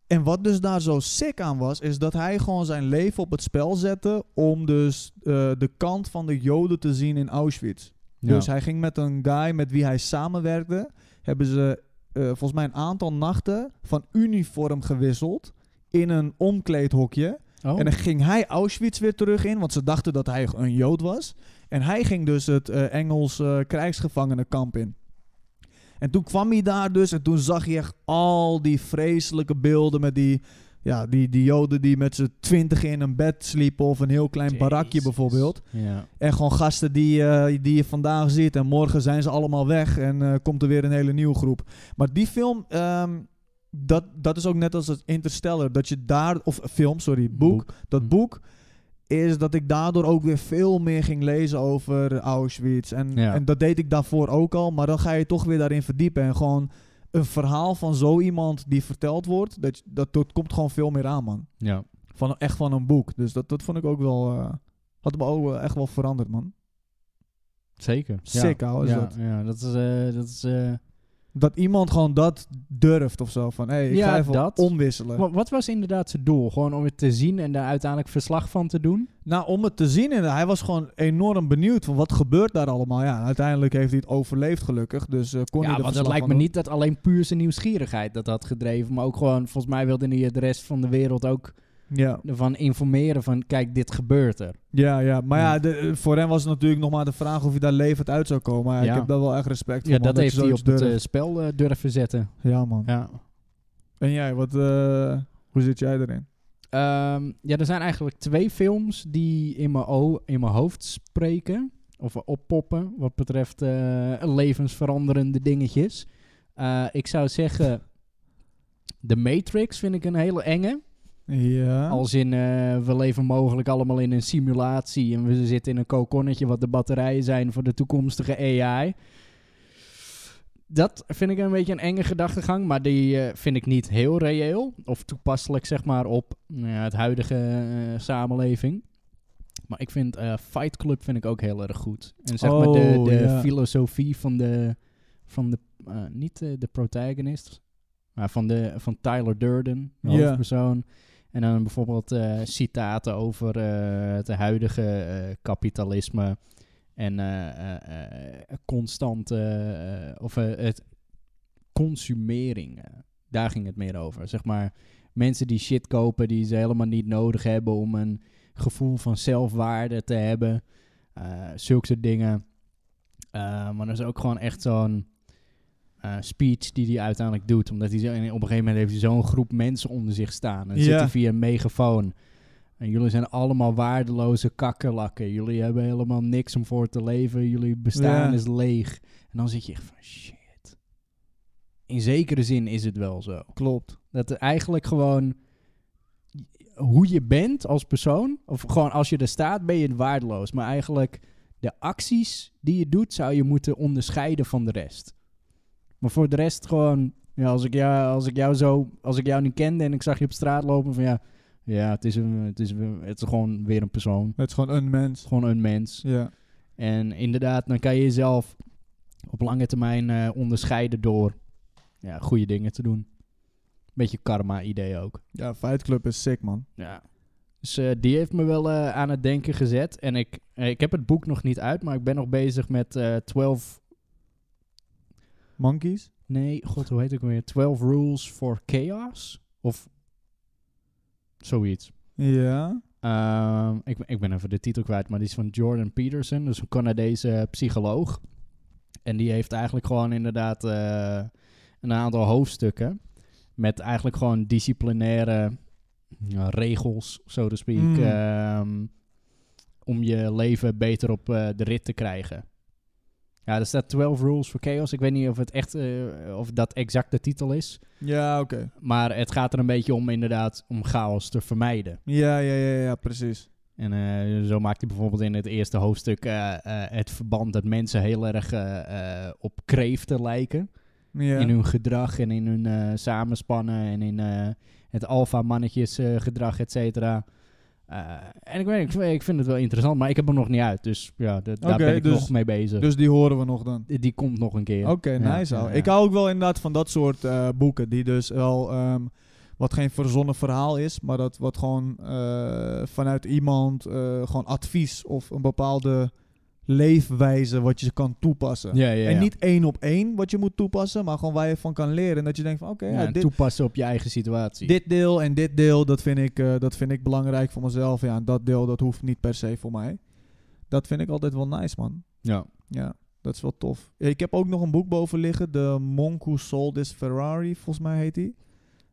Speaker 1: en wat dus daar zo sick aan was, is dat hij gewoon zijn leven op het spel zette om dus eh, de kant van de Joden te zien in Auschwitz.
Speaker 2: Ja.
Speaker 1: Dus hij ging met een guy met wie hij samenwerkte, hebben ze eh, volgens mij een aantal nachten van uniform gewisseld in een omkleedhokje.
Speaker 2: Oh.
Speaker 1: En dan ging hij Auschwitz weer terug in, want ze dachten dat hij een Jood was. En hij ging dus het eh, Engels eh, krijgsgevangenenkamp in. En toen kwam hij daar dus en toen zag je echt al die vreselijke beelden met die, ja, die, die Joden die met z'n twintig in een bed sliepen of een heel klein
Speaker 2: Jezus.
Speaker 1: barakje bijvoorbeeld.
Speaker 2: Ja.
Speaker 1: En gewoon gasten die, eh, die je vandaag ziet. En morgen zijn ze allemaal weg. En eh, komt er weer een hele nieuwe groep. Maar die film, ehm, dat, dat is ook net als het Interstellar. Dat je daar, of film, sorry, boek.
Speaker 2: Hm.
Speaker 1: Dat boek is dat ik daardoor ook weer veel meer ging lezen over Auschwitz. En,
Speaker 2: Ja.
Speaker 1: en dat deed ik daarvoor ook al. Maar dan ga je toch weer daarin verdiepen. En gewoon een verhaal van zo iemand die verteld wordt. Dat, dat, dat komt gewoon veel meer aan, man.
Speaker 2: Ja.
Speaker 1: Van, echt van een boek. Dus dat, dat vond ik ook wel... eh, had me ook wel echt wel veranderd, man.
Speaker 2: Zeker. Ja.
Speaker 1: Sick, ouwe, is
Speaker 2: ja,
Speaker 1: dat.
Speaker 2: Ja, dat is... eh, dat is eh,
Speaker 1: Dat iemand gewoon dat durft of zo. Van, hé, hey, ik
Speaker 2: Ja,
Speaker 1: ga even
Speaker 2: dat.
Speaker 1: omwisselen.
Speaker 2: Wa- Wat was inderdaad zijn doel? Gewoon om het te zien en daar uiteindelijk verslag van te doen?
Speaker 1: Nou, om het te zien. En hij was gewoon enorm benieuwd van wat gebeurt daar allemaal. Ja, uiteindelijk heeft hij het overleefd gelukkig. Dus eh, kon hij
Speaker 2: ja,
Speaker 1: er
Speaker 2: want het
Speaker 1: verslag
Speaker 2: lijkt me
Speaker 1: van
Speaker 2: niet dat alleen puur zijn nieuwsgierigheid dat had gedreven. Maar ook gewoon, volgens mij wilde hij de rest van de wereld ook
Speaker 1: doen. Ja,
Speaker 2: ervan informeren van... Kijk, dit gebeurt er.
Speaker 1: ja, ja. Maar ja, de- eh, voor hem was het natuurlijk nog maar de vraag of hij daar levend uit zou komen. Maar ja,
Speaker 2: Ja.
Speaker 1: ik heb daar wel echt respect voor.
Speaker 2: Ja,
Speaker 1: man,
Speaker 2: dat
Speaker 1: je
Speaker 2: heeft hij
Speaker 1: zoiets
Speaker 2: op het eh,
Speaker 1: durft.
Speaker 2: spel eh, durven zetten.
Speaker 1: Ja, man.
Speaker 2: Ja.
Speaker 1: En jij, wat, eh, hoe zit jij erin?
Speaker 2: Ehm, ja, er zijn eigenlijk twee films die in mijn, o- in mijn hoofd spreken. Of oppoppen wat betreft eh, levensveranderende dingetjes. Eh, ik zou zeggen... The Matrix vind ik een hele enge.
Speaker 1: Ja.
Speaker 2: Als in, eh, we leven mogelijk allemaal in een simulatie... en we zitten in een kokonnetje wat de batterijen zijn voor de toekomstige AI. Dat vind ik een beetje een enge gedachtegang... maar die eh, vind ik niet heel reëel... of toepasselijk, zeg maar, op nou ja, het huidige eh, samenleving. Maar ik vind eh, Fight Club vind ik ook heel erg goed. En zeg maar de,
Speaker 1: Oh,
Speaker 2: de
Speaker 1: ja.
Speaker 2: filosofie van de... Van de eh, niet eh, de protagonist... maar van, de, van Tyler Durden, de
Speaker 1: Ja.
Speaker 2: hoofdpersoon... En dan bijvoorbeeld eh, citaten over eh, het huidige eh, kapitalisme. En eh, eh, eh, constant, eh, eh, of eh, het consumering. eh, daar ging het meer over. Zeg maar, mensen die shit kopen die ze helemaal niet nodig hebben om een gevoel van zelfwaarde te hebben. eh zulke soort dingen. Eh, maar er is ook gewoon echt zo'n eh, speech die hij uiteindelijk doet. Omdat hij zo, en op een gegeven moment heeft hij zo'n groep mensen onder zich staan. En
Speaker 1: Ja.
Speaker 2: zit hij via een megafoon. En jullie zijn allemaal waardeloze kakkerlakken. Jullie hebben helemaal niks om voor te leven. Jullie bestaan
Speaker 1: Ja.
Speaker 2: is leeg. En dan zit je echt van shit. In zekere zin is het wel zo.
Speaker 1: Klopt.
Speaker 2: Dat er eigenlijk gewoon hoe je bent als persoon, of gewoon als je er staat, ben je waardeloos. Maar eigenlijk de acties die je doet, zou je moeten onderscheiden van de rest. Maar voor de rest gewoon, ja, als ik jou, als ik jou zo, als ik jou nu kende en ik zag je op straat lopen, van ja, ja, het is, een, het is, een- het is gewoon weer een persoon. Het
Speaker 1: Het is gewoon een
Speaker 2: is
Speaker 1: mens.
Speaker 2: gewoon een mens.
Speaker 1: Ja.
Speaker 2: En inderdaad, dan kan je jezelf op lange termijn eh, onderscheiden door ja, goede dingen te doen. Beetje karma-idee ook.
Speaker 1: Ja, Fight Club is sick, man.
Speaker 2: Ja. Dus eh, die heeft me wel eh, aan het denken gezet. En ik, eh, ik heb het boek nog niet uit, maar ik ben nog bezig met eh 12...
Speaker 1: Monkeys?
Speaker 2: Nee, god, hoe heet het ook weer? 12 Rules for Chaos? Of zoiets.
Speaker 1: Ja.
Speaker 2: Ehm, ik, ben- ik ben even de titel kwijt, maar die is van Jordan Peterson, dus een Canadese psycholoog. En die heeft eigenlijk gewoon inderdaad eh, een aantal hoofdstukken met eigenlijk gewoon disciplinaire ja, regels, zo te speak,
Speaker 1: Mm.
Speaker 2: ehm, om je leven beter op eh, de rit te krijgen. Ja, er staat 12 Rules for Chaos. Ik weet niet of, het echt, eh, of dat exact de titel is.
Speaker 1: Ja, oké.
Speaker 2: Maar het gaat er een beetje om inderdaad om chaos te vermijden.
Speaker 1: Ja, ja, ja, ja, precies.
Speaker 2: En eh, zo maakt hij bijvoorbeeld in het eerste hoofdstuk eh, eh, het verband dat mensen heel erg eh, eh, op kreeften lijken.
Speaker 1: Ja.
Speaker 2: In hun gedrag en in hun eh, samenspannen en in eh, het alfa-mannetjesgedrag, et cetera. Eh, en ik weet, ik, ik vind het wel interessant, maar ik heb hem nog niet uit. Dus ja, d- daar
Speaker 1: Oké,
Speaker 2: ben ik
Speaker 1: dus-
Speaker 2: nog mee bezig.
Speaker 1: Dus die horen we nog dan.
Speaker 2: Die die komt nog een keer.
Speaker 1: Oké, nice.
Speaker 2: ja,
Speaker 1: al.
Speaker 2: ja.
Speaker 1: Ik hou ook wel inderdaad van dat soort eh, boeken. Die dus wel ehm, wat geen verzonnen verhaal is, maar dat wat gewoon eh, vanuit iemand eh, gewoon advies of een bepaalde leefwijze wat je kan toepassen.
Speaker 2: Ja, ja, ja.
Speaker 1: En niet één op één wat je moet toepassen, maar gewoon waar je van kan leren. En dat je denkt van oké,
Speaker 2: Ja,
Speaker 1: ja,
Speaker 2: en
Speaker 1: dit,
Speaker 2: toepassen op je eigen situatie.
Speaker 1: dit deel en dit deel, dat vind, ik, eh, dat vind ik belangrijk voor mezelf. Ja, en dat deel, dat hoeft niet per se voor mij. Dat vind ik altijd wel nice, man.
Speaker 2: Ja.
Speaker 1: Ja, dat is wel tof. Ik heb ook nog een boek boven liggen. De Monk Who Sold His Ferrari, volgens mij heet die.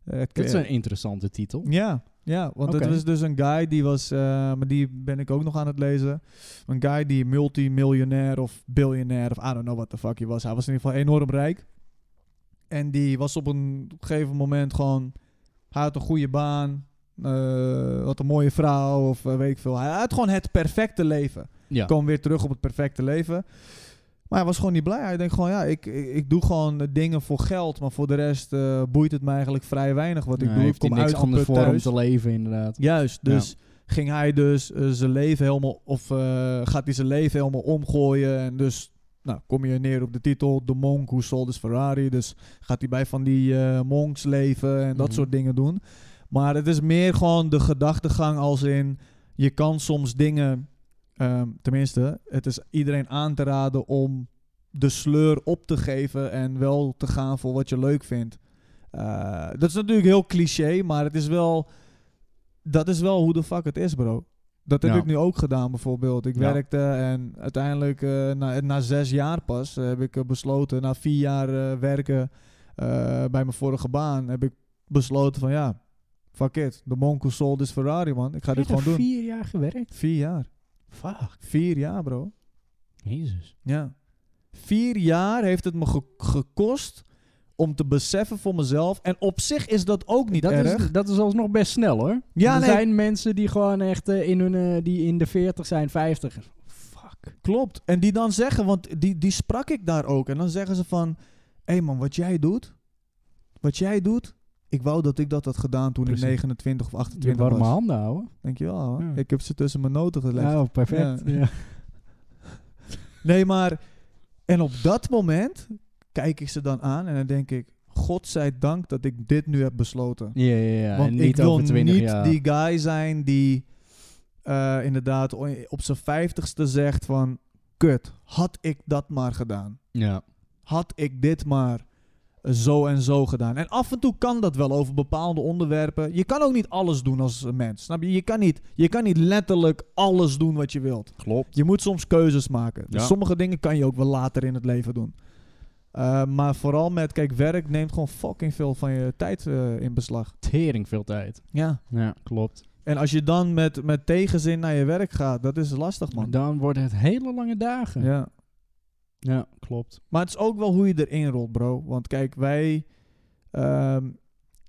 Speaker 1: Eh,
Speaker 2: Dat is
Speaker 1: eh,
Speaker 2: een interessante titel.
Speaker 1: Ja, ja, want het
Speaker 2: Oké.
Speaker 1: was dus een guy die was... eh, maar die ben ik ook nog aan het lezen. Een guy die multimiljonair of biljonair... of I don't know what the fuck hij was. Hij was in ieder geval enorm rijk. En die was op een gegeven moment gewoon... Hij had een goede baan. eh, had een mooie vrouw of eh, weet ik veel. Hij had gewoon het perfecte leven
Speaker 2: Ja.
Speaker 1: kwam weer terug op het perfecte leven. Maar hij was gewoon niet blij. Hij denkt gewoon, ja, ik, ik, ik doe gewoon eh, dingen voor geld. Maar voor de rest eh, boeit het mij eigenlijk vrij weinig wat ik
Speaker 2: Nou,
Speaker 1: doe. Ik
Speaker 2: heeft hij
Speaker 1: kom
Speaker 2: niks anders
Speaker 1: uitgeput
Speaker 2: voor om
Speaker 1: thuis.
Speaker 2: te leven, inderdaad.
Speaker 1: Juist, dus ging hij dus eh, zijn leven helemaal... Of eh, gaat hij zijn leven helemaal omgooien. En dus nou, kom je neer op de titel The Monk Who Sold His Ferrari. Dus gaat hij bij van die eh, monks leven en dat
Speaker 2: Mhm.
Speaker 1: soort dingen doen. Maar het is meer gewoon de gedachtegang als in... Je kan soms dingen... ehm, tenminste, het is iedereen aan te raden om de sleur op te geven en wel te gaan voor wat je leuk vindt. Eh, dat is natuurlijk heel cliché, maar het is wel... Dat is wel hoe de fuck het is, bro. Dat heb
Speaker 2: Ja.
Speaker 1: ik nu ook gedaan, bijvoorbeeld. Ik
Speaker 2: Ja.
Speaker 1: werkte en uiteindelijk, eh, na, na zes jaar pas, eh, heb ik eh, besloten... Na vier jaar eh, werken eh, bij mijn vorige baan, heb ik besloten van... Ja, fuck it. De Monco sold is Ferrari, man. Ik ga dit gewoon doen.
Speaker 2: vier jaar gewerkt?
Speaker 1: Vier jaar.
Speaker 2: Fuck.
Speaker 1: Vier jaar, bro.
Speaker 2: Jezus.
Speaker 1: Ja. Vier jaar heeft het me ge- gekost om te beseffen voor mezelf. En op zich is dat ook niet
Speaker 2: dat
Speaker 1: erg.
Speaker 2: Is, dat is alsnog best snel hoor.
Speaker 1: Ja,
Speaker 2: er
Speaker 1: nee.
Speaker 2: zijn mensen die gewoon echt eh, in, hun, eh, die in de 40 zijn, 50. Fuck.
Speaker 1: Klopt. En die dan zeggen, want die, die sprak ik daar ook. En dan zeggen ze van, hé man, wat jij doet, wat jij doet, ik wou dat ik dat had gedaan toen
Speaker 2: Precies.
Speaker 1: ik 29 of
Speaker 2: Je
Speaker 1: 28
Speaker 2: warme
Speaker 1: was.
Speaker 2: handen houden.
Speaker 1: Dankjewel. hè.
Speaker 2: Ja.
Speaker 1: Ik heb ze tussen mijn noten gelegd.
Speaker 2: Oh, perfect.
Speaker 1: Ja.
Speaker 2: Ja.
Speaker 1: Nee, maar. En op dat moment kijk ik ze dan aan en dan denk ik: Godzijdank dat ik dit nu heb besloten.
Speaker 2: Ja, ja, ja.
Speaker 1: Want
Speaker 2: en
Speaker 1: ik
Speaker 2: niet
Speaker 1: wil
Speaker 2: over 20
Speaker 1: niet
Speaker 2: jaar.
Speaker 1: die guy zijn die eh, inderdaad o- op zijn vijftigste zegt van... Kut, had ik dat maar gedaan.
Speaker 2: Ja.
Speaker 1: Had ik dit maar eh, zo en zo gedaan. En af en toe kan dat wel over bepaalde onderwerpen. Je kan ook niet alles doen als een mens. Snap je? Je kan niet, je kan niet letterlijk alles doen wat je wilt.
Speaker 2: Klopt.
Speaker 1: Je moet soms keuzes maken. Dus
Speaker 2: Ja.
Speaker 1: sommige dingen kan je ook wel later in het leven doen. Eh, maar vooral met, kijk, werk neemt gewoon fucking veel van je tijd eh, in beslag.
Speaker 2: Tering veel tijd.
Speaker 1: Ja.
Speaker 2: Ja, klopt.
Speaker 1: En als je dan met, met tegenzin naar je werk gaat, dat is lastig, man.
Speaker 2: Dan worden het hele lange dagen.
Speaker 1: Ja.
Speaker 2: Ja, klopt.
Speaker 1: Maar het is ook wel hoe je erin rolt, bro. Want kijk, wij... ehm,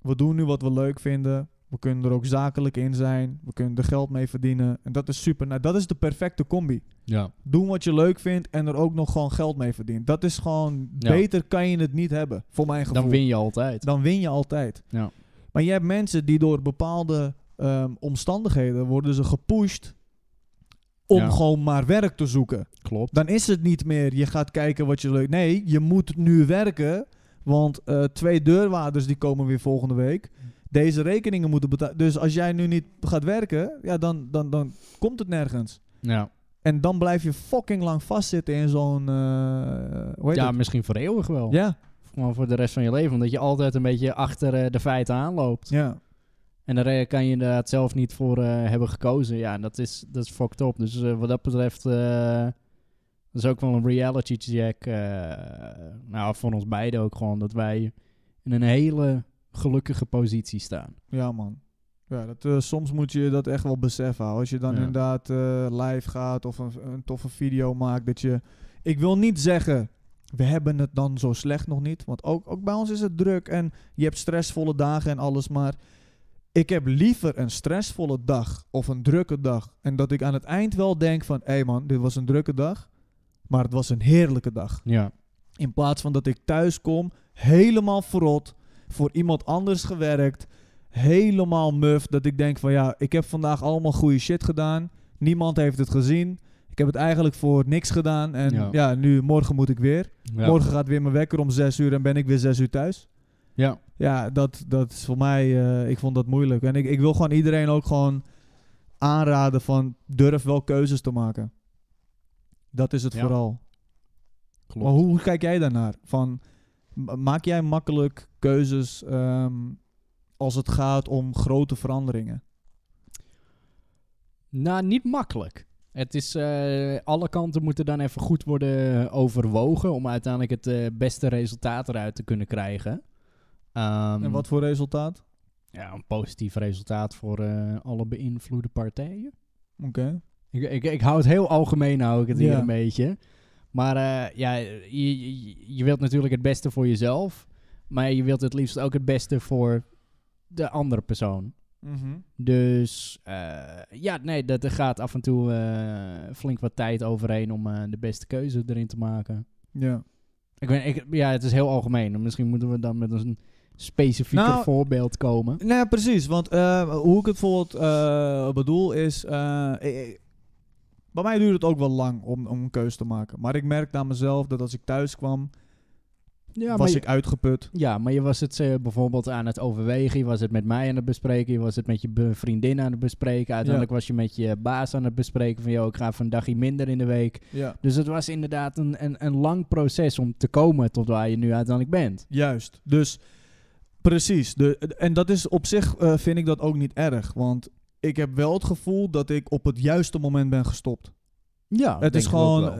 Speaker 1: we doen nu wat we leuk vinden. We kunnen er ook zakelijk in zijn. We kunnen er geld mee verdienen. En dat is super. Nou, dat is de perfecte combi.
Speaker 2: Ja.
Speaker 1: Doen wat je leuk vindt en er ook nog gewoon geld mee verdienen. Dat is gewoon...
Speaker 2: Ja.
Speaker 1: Beter kan je het niet hebben, voor mijn gevoel.
Speaker 2: Dan win je altijd.
Speaker 1: dan win je altijd.
Speaker 2: Ja.
Speaker 1: Maar je hebt mensen die door bepaalde ehm, omstandigheden worden ze gepusht om
Speaker 2: Ja.
Speaker 1: gewoon maar werk te zoeken.
Speaker 2: Klopt.
Speaker 1: Dan is het niet meer je gaat kijken wat je leuk. Nee, je moet nu werken, want eh, twee deurwaarders die komen weer volgende week. Deze rekeningen moeten betalen. Dus als jij nu niet gaat werken, ja, dan, dan, dan komt het nergens.
Speaker 2: Ja,
Speaker 1: En dan blijf je fucking lang vastzitten in zo'n. eh, hoe heet
Speaker 2: ja
Speaker 1: het?
Speaker 2: misschien voor eeuwig wel.
Speaker 1: ja,
Speaker 2: gewoon voor de rest van je leven. Omdat je altijd een beetje achter eh, de feiten aanloopt.
Speaker 1: Ja.
Speaker 2: En daar eh, kan je inderdaad zelf niet voor eh, hebben gekozen. Ja, en dat is, dat is fucked up. Dus eh, wat dat betreft... eh dat is ook wel een reality check. eh, nou, voor ons beiden ook gewoon. Dat wij in een hele gelukkige positie staan.
Speaker 1: ja, man. Ja, dat, eh, soms moet je dat echt wel beseffen. hoor. Als je dan
Speaker 2: Ja.
Speaker 1: inderdaad eh, live gaat of een, een toffe video maakt, dat je... Ik wil niet zeggen, we hebben het dan zo slecht nog niet. Want ook, ook bij ons is het druk en je hebt stressvolle dagen en alles. Maar ik heb liever een stressvolle dag of een drukke dag. En dat ik aan het eind wel denk van, hé man, dit was een drukke dag. Maar het was een heerlijke dag.
Speaker 2: Ja.
Speaker 1: In plaats van dat ik thuis kom, helemaal verrot, voor iemand anders gewerkt, helemaal muf. Dat ik denk van ja, ik heb vandaag allemaal goede shit gedaan. Niemand heeft het gezien. Ik heb het eigenlijk voor niks gedaan. En ja,
Speaker 2: Ja.
Speaker 1: nu morgen moet ik weer.
Speaker 2: Ja.
Speaker 1: Morgen gaat weer mijn wekker om 6 uur en ben ik weer 6 uur thuis.
Speaker 2: Ja.
Speaker 1: Ja, dat, dat is voor mij, eh, ik vond dat moeilijk. En ik, ik wil gewoon iedereen ook gewoon aanraden van durf wel keuzes te maken. Dat is het
Speaker 2: Ja.
Speaker 1: vooral.
Speaker 2: Klopt.
Speaker 1: Maar hoe, hoe kijk jij daarnaar? Van, ma- maak jij makkelijk keuzes ehm, als het gaat om grote veranderingen?
Speaker 2: Nou, niet makkelijk. Het is, eh, alle kanten moeten dan even goed worden overwogen om uiteindelijk het eh, beste resultaat eruit te kunnen krijgen. Ehm,
Speaker 1: En wat voor resultaat?
Speaker 2: Ja, een positief resultaat voor eh, alle beïnvloede partijen.
Speaker 1: Oké.
Speaker 2: Ik, ik, ik hou het heel algemeen, hou ik het hier
Speaker 1: Ja.
Speaker 2: een beetje. Maar eh, ja, je, je, je wilt natuurlijk het beste voor jezelf, maar je wilt het liefst ook het beste voor de andere persoon. Mhm. Dus eh, ja, nee, dat, er gaat af en toe eh, flink wat tijd overheen om eh, de beste keuze erin te maken.
Speaker 1: Ja.
Speaker 2: Ik weet, ik, ja, het is heel algemeen. Misschien moeten we dan met een specifieker
Speaker 1: Nou-
Speaker 2: voorbeeld komen.
Speaker 1: Nou ja, precies. Want eh, hoe ik het bijvoorbeeld eh, bedoel is... eh, eh, eh, bij mij duurde het ook wel lang om, om een keuze te maken. Maar ik merkte aan mezelf dat als ik thuis kwam,
Speaker 2: Ja, maar,
Speaker 1: was
Speaker 2: je,
Speaker 1: ik uitgeput.
Speaker 2: ja, maar je was het eh, bijvoorbeeld aan het overwegen. Je was het met mij aan het bespreken. Je was het met je be- vriendin aan het bespreken. Uiteindelijk was je met je baas aan het bespreken van... ...joh, ik ga even een dagje minder in de week.
Speaker 1: Ja.
Speaker 2: Dus het was inderdaad een, een, een lang proces om te komen tot waar je nu uiteindelijk bent.
Speaker 1: Juist. Dus precies. De, en dat is op zich eh, vind ik dat ook niet erg. Want ik heb wel het gevoel dat ik op het juiste moment ben gestopt.
Speaker 2: Ja,
Speaker 1: het is gewoon. eh,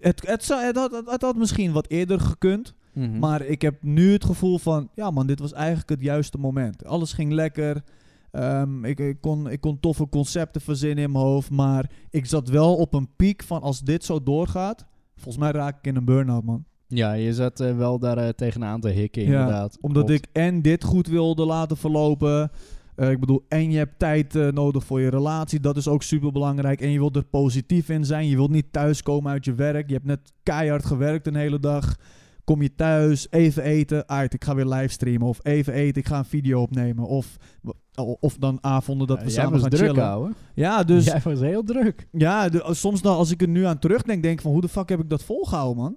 Speaker 1: het, het, zou, het, had, het had misschien wat eerder gekund. eh,
Speaker 2: Hm.
Speaker 1: Maar ik heb nu het gevoel van. Ja, man, dit was eigenlijk het juiste moment. Alles ging lekker. Ehm, ik, ik, kon, ik kon toffe concepten verzinnen in mijn hoofd. Maar ik zat wel op een piek van als dit zo doorgaat. Volgens mij raak ik in een burn-out, man.
Speaker 2: Ja, je zat eh, wel daar eh, tegenaan te hikken,
Speaker 1: Ja,
Speaker 2: inderdaad.
Speaker 1: Omdat
Speaker 2: Klopt.
Speaker 1: ik en dit goed wilde laten verlopen. Eh, ik bedoel, en je hebt tijd eh, nodig voor je relatie. Dat is ook super belangrijk. En je wilt er positief in zijn. Je wilt niet thuiskomen uit je werk. Je hebt net keihard gewerkt een hele dag. Kom je thuis, even eten. Uit, ik ga weer livestreamen. Of even eten, ik ga een video opnemen. Of, eh, of dan avonden dat
Speaker 2: Ja,
Speaker 1: we
Speaker 2: Eh, jij
Speaker 1: samen
Speaker 2: was
Speaker 1: gaan
Speaker 2: druk,
Speaker 1: chillen.
Speaker 2: ouwe.
Speaker 1: Ja, dus
Speaker 2: Jij was heel druk.
Speaker 1: ja, de- als- soms dan, als ik er nu aan terugdenk, denk ik van hoe de fuck heb ik dat volgehouden, man?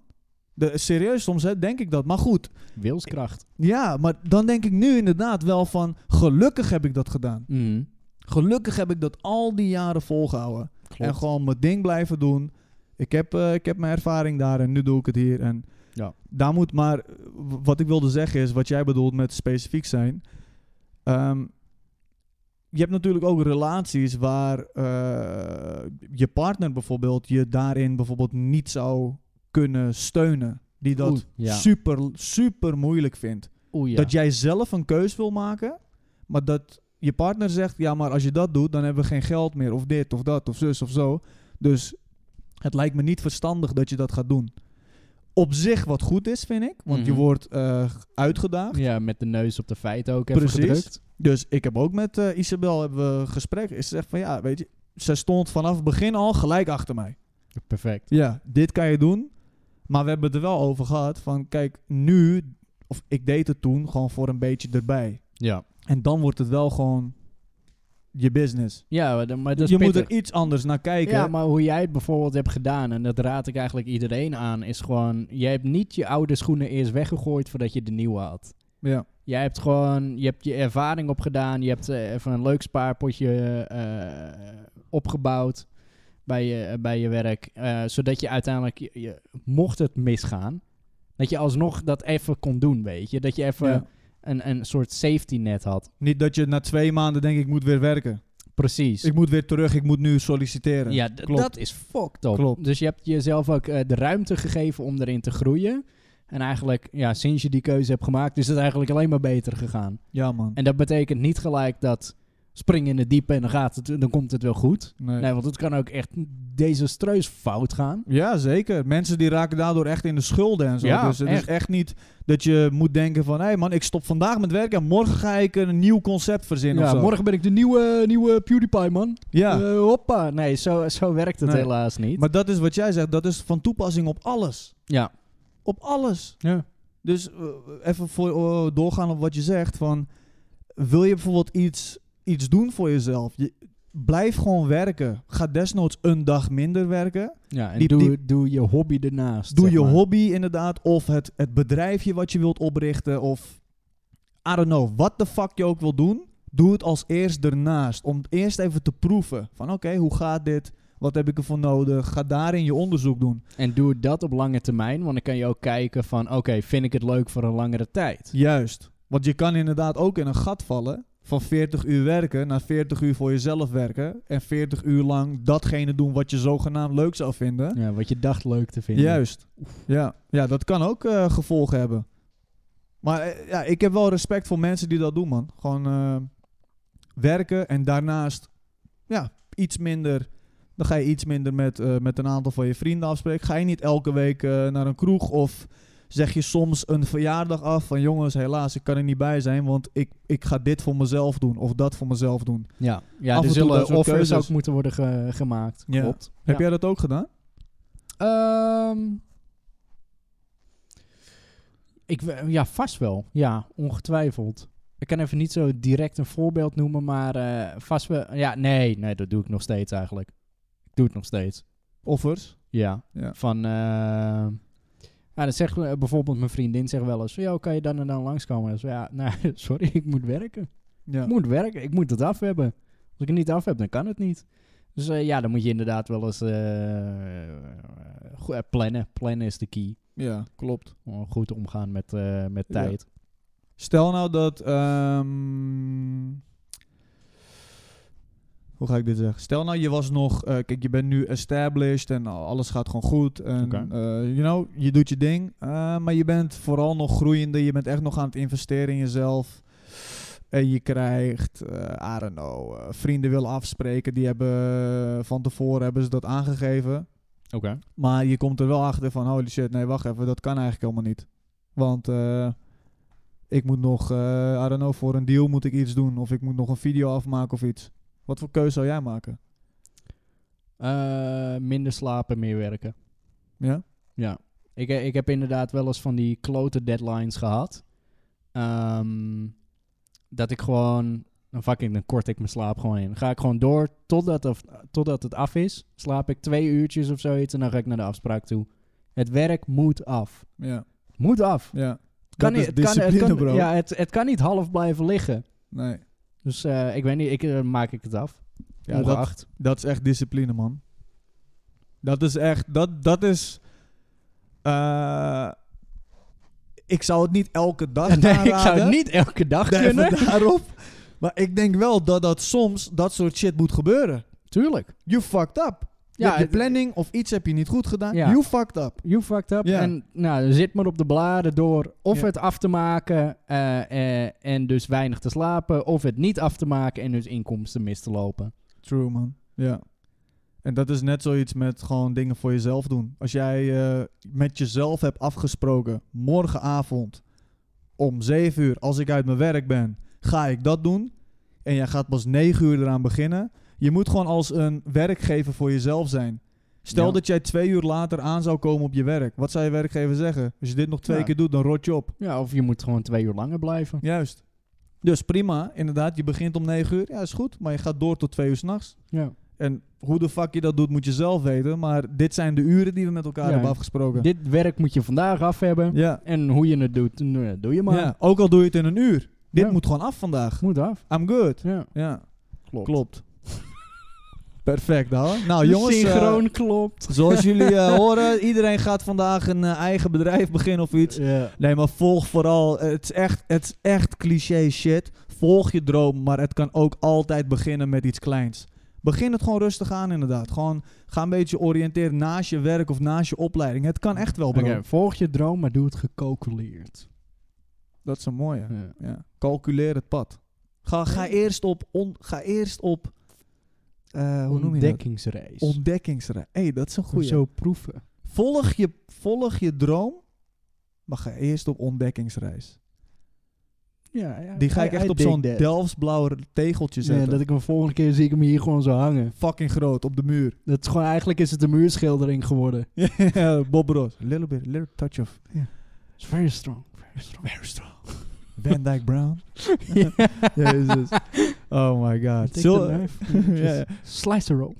Speaker 1: De, serieus, soms hè, denk ik dat. Maar goed,
Speaker 2: Wilskracht.
Speaker 1: ja, maar dan denk ik nu inderdaad wel van... gelukkig heb ik dat gedaan.
Speaker 2: Mm.
Speaker 1: Gelukkig heb ik dat al die jaren volgehouden. En gewoon mijn ding blijven doen. Ik heb, eh, ik heb mijn ervaring daar en nu doe ik het hier. En
Speaker 2: Ja.
Speaker 1: daar moet maar... eh, w- Wat ik wilde zeggen is, wat jij bedoelt met specifiek zijn... ehm, je hebt natuurlijk ook relaties waar eh, je partner bijvoorbeeld... je daarin bijvoorbeeld niet zou kunnen steunen. Die dat
Speaker 2: Oeh, ja.
Speaker 1: super, super moeilijk vindt.
Speaker 2: Oeh, ja.
Speaker 1: Dat jij zelf een keus wil maken, maar dat je partner zegt: ja, maar als je dat doet, dan hebben we geen geld meer, of dit of dat, of zus of zo. Dus het lijkt me niet verstandig dat je dat gaat doen. Op zich wat goed is, vind ik, want je
Speaker 2: Mhm.
Speaker 1: wordt eh, uitgedaagd.
Speaker 2: ja, met de neus op de feiten ook even
Speaker 1: Precies.
Speaker 2: gedrukt.
Speaker 1: Dus ik heb ook met eh, Isabel hebben we een gesprek. Ze zegt van ja, weet je, ze stond vanaf het begin al gelijk achter mij.
Speaker 2: Perfect.
Speaker 1: Ja, dit kan je doen. Maar we hebben het er wel over gehad van kijk, nu, of ik deed het toen gewoon voor een beetje erbij.
Speaker 2: Ja,
Speaker 1: En dan wordt het wel gewoon je business.
Speaker 2: ja maar, dan- maar dat is
Speaker 1: je moet
Speaker 2: pittig.
Speaker 1: er iets anders naar kijken.
Speaker 2: Ja, maar hoe jij het bijvoorbeeld hebt gedaan, en dat raad ik eigenlijk iedereen aan, is gewoon: jij hebt niet je oude schoenen eerst weggegooid voordat je de nieuwe had.
Speaker 1: ja.
Speaker 2: Jij hebt gewoon, je hebt je ervaring opgedaan. Je hebt eh, even een leuk spaarpotje eh, opgebouwd eh, bij je, bij je werk. eh, zodat je uiteindelijk, je, je- mocht het misgaan, Dat je alsnog dat even kon doen, weet je. Dat je even
Speaker 1: Ja.
Speaker 2: een, een soort safety net had.
Speaker 1: Niet dat je na twee maanden denkt, ik moet weer werken.
Speaker 2: Precies.
Speaker 1: Ik moet weer terug, ik moet nu solliciteren.
Speaker 2: Ja, d-
Speaker 1: Klopt.
Speaker 2: dat is fucked up.
Speaker 1: Klopt.
Speaker 2: Dus je hebt jezelf ook eh, de ruimte gegeven om erin te groeien. En eigenlijk, ja, sinds je die keuze hebt gemaakt, is het eigenlijk alleen maar beter gegaan.
Speaker 1: Ja, man.
Speaker 2: En dat betekent niet gelijk dat spring in het diepe en dan, gaat het, dan komt het wel goed.
Speaker 1: Nee.
Speaker 2: Nee, want het kan ook echt desastreus fout gaan.
Speaker 1: Ja, zeker. Mensen die raken daardoor echt in de schulden en zo.
Speaker 2: Ja,
Speaker 1: dus het
Speaker 2: echt.
Speaker 1: is echt niet dat je moet denken van... hé hey man, ik stop vandaag met werken en morgen ga ik een nieuw concept verzinnen of
Speaker 2: Ja,
Speaker 1: zo.
Speaker 2: morgen ben ik de nieuwe, nieuwe PewDiePie, man.
Speaker 1: ja.
Speaker 2: Eh, hoppa. Nee, zo, zo werkt het
Speaker 1: Nee.
Speaker 2: helaas niet.
Speaker 1: maar dat is wat jij zegt, dat is van toepassing op alles.
Speaker 2: ja.
Speaker 1: Op alles.
Speaker 2: ja.
Speaker 1: Dus eh, even voor, eh, doorgaan op wat je zegt. Van, wil je bijvoorbeeld iets, iets doen voor jezelf? Je, blijf gewoon werken. Ga desnoods een dag minder werken.
Speaker 2: Ja, en
Speaker 1: Die-
Speaker 2: doe,
Speaker 1: die-
Speaker 2: doe je hobby ernaast.
Speaker 1: Doe
Speaker 2: zeg
Speaker 1: je
Speaker 2: maar.
Speaker 1: hobby inderdaad. Of het, het bedrijfje wat je wilt oprichten. Of I don't know. Wat de fuck je ook wil doen. Doe het als eerst ernaast. Om eerst even te proeven. Van oké, hoe gaat dit? Wat heb ik ervoor nodig? Ga daarin je onderzoek doen.
Speaker 2: En doe dat op lange termijn, want dan kan je ook kijken van... oké, vind ik het leuk voor een langere tijd?
Speaker 1: Juist. Want je kan inderdaad ook in een gat vallen. Van 40 uur werken naar 40 uur voor jezelf werken. En 40 uur lang datgene doen wat je zogenaamd leuk zou vinden.
Speaker 2: Ja, wat je dacht leuk te vinden.
Speaker 1: Juist. Ja. ja, dat kan ook eh, gevolgen hebben. Maar eh, ja, ik heb wel respect voor mensen die dat doen, man. Gewoon eh, werken en daarnaast ja, iets minder. Dan ga je iets minder met, eh, met een aantal van je vrienden afspreken. Ga je niet elke week eh, naar een kroeg of zeg je soms een verjaardag af van jongens, helaas, ik kan er niet bij zijn, want ik, ik ga dit voor mezelf doen of dat voor mezelf doen.
Speaker 2: Ja,
Speaker 1: Af
Speaker 2: ja
Speaker 1: en toe
Speaker 2: er
Speaker 1: dat
Speaker 2: zullen
Speaker 1: soort
Speaker 2: offers
Speaker 1: keuzes.
Speaker 2: ook moeten worden ge- gemaakt.
Speaker 1: Ja.
Speaker 2: Klopt.
Speaker 1: Heb
Speaker 2: Ja.
Speaker 1: jij dat ook gedaan?
Speaker 2: Ehm, ik, we- ja, vast wel. Ja, ongetwijfeld. Ik kan even niet zo direct een voorbeeld noemen, maar eh, vast wel. Ja, nee, nee, dat doe ik nog steeds eigenlijk. Ik doe het nog steeds.
Speaker 1: Offers?
Speaker 2: Ja.
Speaker 1: Ja.
Speaker 2: Van, eh, ja, dat zegt eh, bijvoorbeeld mijn vriendin zegt wel eens, van, "Yo, kan je dan en dan langskomen? Dus, ja, nou, sorry, ik moet werken.
Speaker 1: Ja.
Speaker 2: Ik moet werken, ik moet het af hebben. Als ik het niet af heb, dan kan het niet. Dus eh, ja, dan moet je inderdaad wel eens eh, go- eh, plannen. Plannen is de key.
Speaker 1: Ja, klopt.
Speaker 2: Gewoon Goed omgaan met, eh, met
Speaker 1: Ja.
Speaker 2: tijd.
Speaker 1: Stel nou dat. ehm, hoe ga ik dit zeggen? Stel nou, je was nog. eh, kijk, je bent nu established en al- alles gaat gewoon goed. En,
Speaker 2: Oké.
Speaker 1: eh, you know, je doet je ding. eh, maar je bent vooral nog groeiende. Je bent echt nog aan het investeren in jezelf. En je krijgt, eh I don't know, eh, vrienden willen afspreken. Die hebben van tevoren hebben ze dat aangegeven.
Speaker 2: Oké.
Speaker 1: Maar je komt er wel achter van, holy shit, nee, wacht even, dat kan eigenlijk helemaal niet. Want eh, ik moet nog, eh I don't know, voor een deal moet ik iets doen. Of ik moet nog een video afmaken of iets. Wat voor keuze zou jij maken?
Speaker 2: Eh, minder slapen, meer werken.
Speaker 1: Ja?
Speaker 2: Ja. Ik, eh, ik heb inderdaad wel eens van die klote deadlines gehad. Ehm, dat ik gewoon... Dan fuck ik, dan kort ik mijn slaap gewoon in. Dan ga ik gewoon door totdat, of, totdat het af is. Slaap ik twee uurtjes of zoiets en dan ga ik naar de afspraak toe. Het werk moet af.
Speaker 1: Ja.
Speaker 2: Het moet af. Het
Speaker 1: ja.
Speaker 2: kan
Speaker 1: dat
Speaker 2: niet-
Speaker 1: is
Speaker 2: het kan- het
Speaker 1: discipline,
Speaker 2: kan-
Speaker 1: bro.
Speaker 2: Ja, het, het kan niet half blijven liggen.
Speaker 1: Nee,
Speaker 2: Dus eh, ik weet niet, ik, eh, maak ik het af.
Speaker 1: Ja, dat-
Speaker 2: Ongeacht.
Speaker 1: dat is echt discipline, man. Dat is echt, dat, dat is... eh, ik zou het niet elke dag
Speaker 2: Nee, ik zou
Speaker 1: aanraden.
Speaker 2: het niet elke dag
Speaker 1: Nee,
Speaker 2: kunnen.
Speaker 1: even daarop. Maar ik denk wel dat dat soms dat soort shit moet gebeuren.
Speaker 2: Tuurlijk.
Speaker 1: You fucked up. Je
Speaker 2: Ja,
Speaker 1: hebt je
Speaker 2: het-
Speaker 1: planning of iets heb je niet goed gedaan.
Speaker 2: Ja.
Speaker 1: You fucked up.
Speaker 2: You fucked up.
Speaker 1: Ja.
Speaker 2: En nou, zit maar op de bladen door of
Speaker 1: Ja.
Speaker 2: het af te maken eh, eh, en dus weinig te slapen, of het niet af te maken en dus inkomsten mis te lopen.
Speaker 1: True, man. Ja. En dat is net zoiets met gewoon dingen voor jezelf doen. Als jij eh, met jezelf hebt afgesproken, morgenavond om 7 uur, als ik uit mijn werk ben, ga ik dat doen. En jij gaat pas 9 uur eraan beginnen. Je moet gewoon als een werkgever voor jezelf zijn. Stel
Speaker 2: Ja.
Speaker 1: dat jij twee uur later aan zou komen op je werk. Wat zou je werkgever zeggen? Als je dit nog twee
Speaker 2: Ja.
Speaker 1: keer doet, dan rot je op.
Speaker 2: Ja, of je moet gewoon twee uur langer blijven.
Speaker 1: Juist. Dus prima, inderdaad. Je begint om 9 uur. Ja, is goed. Maar je gaat door tot 2 uur s'nachts.
Speaker 2: Ja.
Speaker 1: En hoe de fuck je dat doet, moet je zelf weten. Maar dit zijn de uren die we met elkaar
Speaker 2: Ja.
Speaker 1: hebben afgesproken.
Speaker 2: Dit werk moet je vandaag af hebben.
Speaker 1: ja.
Speaker 2: En hoe je het doet, nou, doe je maar.
Speaker 1: ja. Ook al doe je het in een uur. Dit
Speaker 2: Ja.
Speaker 1: moet gewoon af vandaag.
Speaker 2: Moet af.
Speaker 1: I'm good.
Speaker 2: Ja,
Speaker 1: Ja,
Speaker 2: klopt.
Speaker 1: klopt. Perfect hoor. Nou jongens, eh,
Speaker 2: Synchroon klopt.
Speaker 1: zoals jullie eh, horen, iedereen gaat vandaag een eh, eigen bedrijf beginnen of iets.
Speaker 2: Ja.
Speaker 1: Nee, maar volg vooral. eh, Het is, echt, het is echt cliché shit. Volg je droom, maar het kan ook altijd beginnen met iets kleins. Begin het gewoon rustig aan, inderdaad. Gewoon ga een beetje oriënteren naast je werk of naast je opleiding. Het kan echt wel,
Speaker 2: Oké,
Speaker 1: bro.
Speaker 2: volg je droom, maar doe het gecalculeerd.
Speaker 1: Dat is een mooie.
Speaker 2: Ja.
Speaker 1: Ja. Calculeer het pad. Ga, ga eerst op. On, ga eerst op eh, hoe noem je dat?
Speaker 2: Ontdekkingsreis.
Speaker 1: Ontdekkingsreis. hey, dat is een
Speaker 2: Om
Speaker 1: goede.
Speaker 2: zo proeven.
Speaker 1: Volg je, volg je droom, maar ga eerst op ontdekkingsreis.
Speaker 2: Ja, ja,
Speaker 1: Die ga
Speaker 2: I-
Speaker 1: ik echt
Speaker 2: I
Speaker 1: op
Speaker 2: dig
Speaker 1: zo'n
Speaker 2: that.
Speaker 1: Delftsblauw tegeltje
Speaker 2: Ja,
Speaker 1: zetten.
Speaker 2: dat ik hem volgende keer zie ik hem hier gewoon zo hangen.
Speaker 1: Fucking groot op de muur.
Speaker 2: Dat is gewoon, eigenlijk is het een muurschildering geworden.
Speaker 1: Bob Ross. Little bit, little touch of
Speaker 2: It's very strong. Very strong. Very strong.
Speaker 1: Van Dyke Brown. Jezus. Oh my god.
Speaker 2: Take
Speaker 1: Zo,
Speaker 2: the knife. and
Speaker 1: Ja,
Speaker 2: just Slice the roll.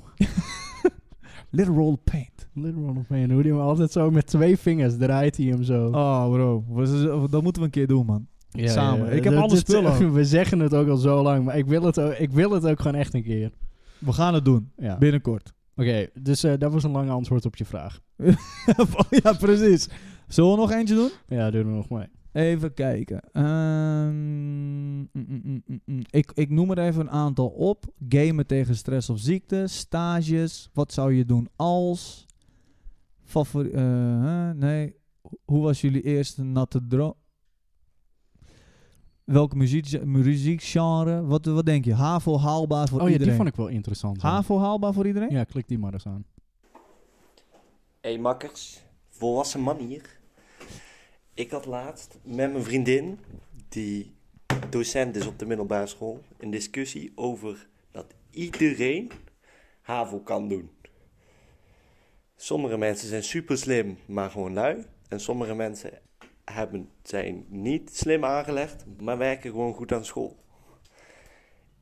Speaker 1: little roll of paint.
Speaker 2: Little one of man. Hoe die hem altijd zo met twee vingers draait hij hem zo.
Speaker 1: Oh bro, was- dat moeten we een keer doen man.
Speaker 2: Ja,
Speaker 1: Samen. Ik heb
Speaker 2: Dat-
Speaker 1: alle
Speaker 2: dat-
Speaker 1: spullen.
Speaker 2: We zeggen het ook al zo lang, maar ik wil het ook, ik wil het ook gewoon echt een keer.
Speaker 1: We gaan het doen.
Speaker 2: Ja. Oké,
Speaker 1: Binnenkort.
Speaker 2: dus eh, dat was een lang antwoord op je vraag.
Speaker 1: Oh, ja, precies. Zullen we nog eentje doen?
Speaker 2: Ja, doe er nog mee.
Speaker 1: Even kijken. Ehm, mm, mm, mm, mm, mm. Ik, ik noem er even een aantal op. Gamen tegen stress of ziekte. Stages. Wat zou je doen als? Favori eh, eh, nee. Hoe was jullie eerste natte droom? Welke muziek, muziekgenre? Wat, wat denk je? HAVO haalbaar voor
Speaker 2: Oh ja,
Speaker 1: iedereen?
Speaker 2: die vond ik wel interessant. hoor.
Speaker 1: HAVO haalbaar voor iedereen?
Speaker 2: Ja, klik die maar eens aan.
Speaker 4: Hé hey, makkers, volwassen man hier. Ik had laatst met mijn vriendin, die docent is op de middelbare school, een discussie over dat iedereen HAVO kan doen. Sommige mensen zijn super slim, maar gewoon lui. En sommige mensen hebben, zijn niet slim aangelegd, maar werken gewoon goed aan school.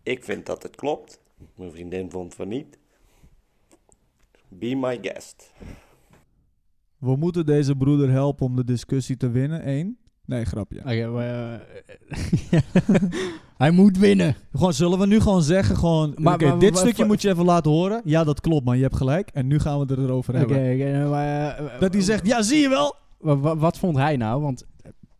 Speaker 4: Ik vind dat het klopt. Mijn vriendin vond van niet. Be my guest.
Speaker 1: We moeten deze broeder helpen om de discussie te winnen. Eén. Nee, grapje.
Speaker 2: Oké, maar, eh, Hij moet winnen.
Speaker 1: Gewoon, zullen we nu gewoon zeggen, gewoon,
Speaker 2: Maar-
Speaker 1: oké,
Speaker 2: maar-
Speaker 1: dit
Speaker 2: maar-
Speaker 1: stukje
Speaker 2: maar-
Speaker 1: moet je even laten horen. Ja, dat klopt, maar je hebt gelijk. En nu gaan we het erover
Speaker 2: Oké,
Speaker 1: hebben.
Speaker 2: oké, maar, eh,
Speaker 1: Dat hij zegt, ja, zie je wel.
Speaker 2: wa- wa- wat vond hij nou? Want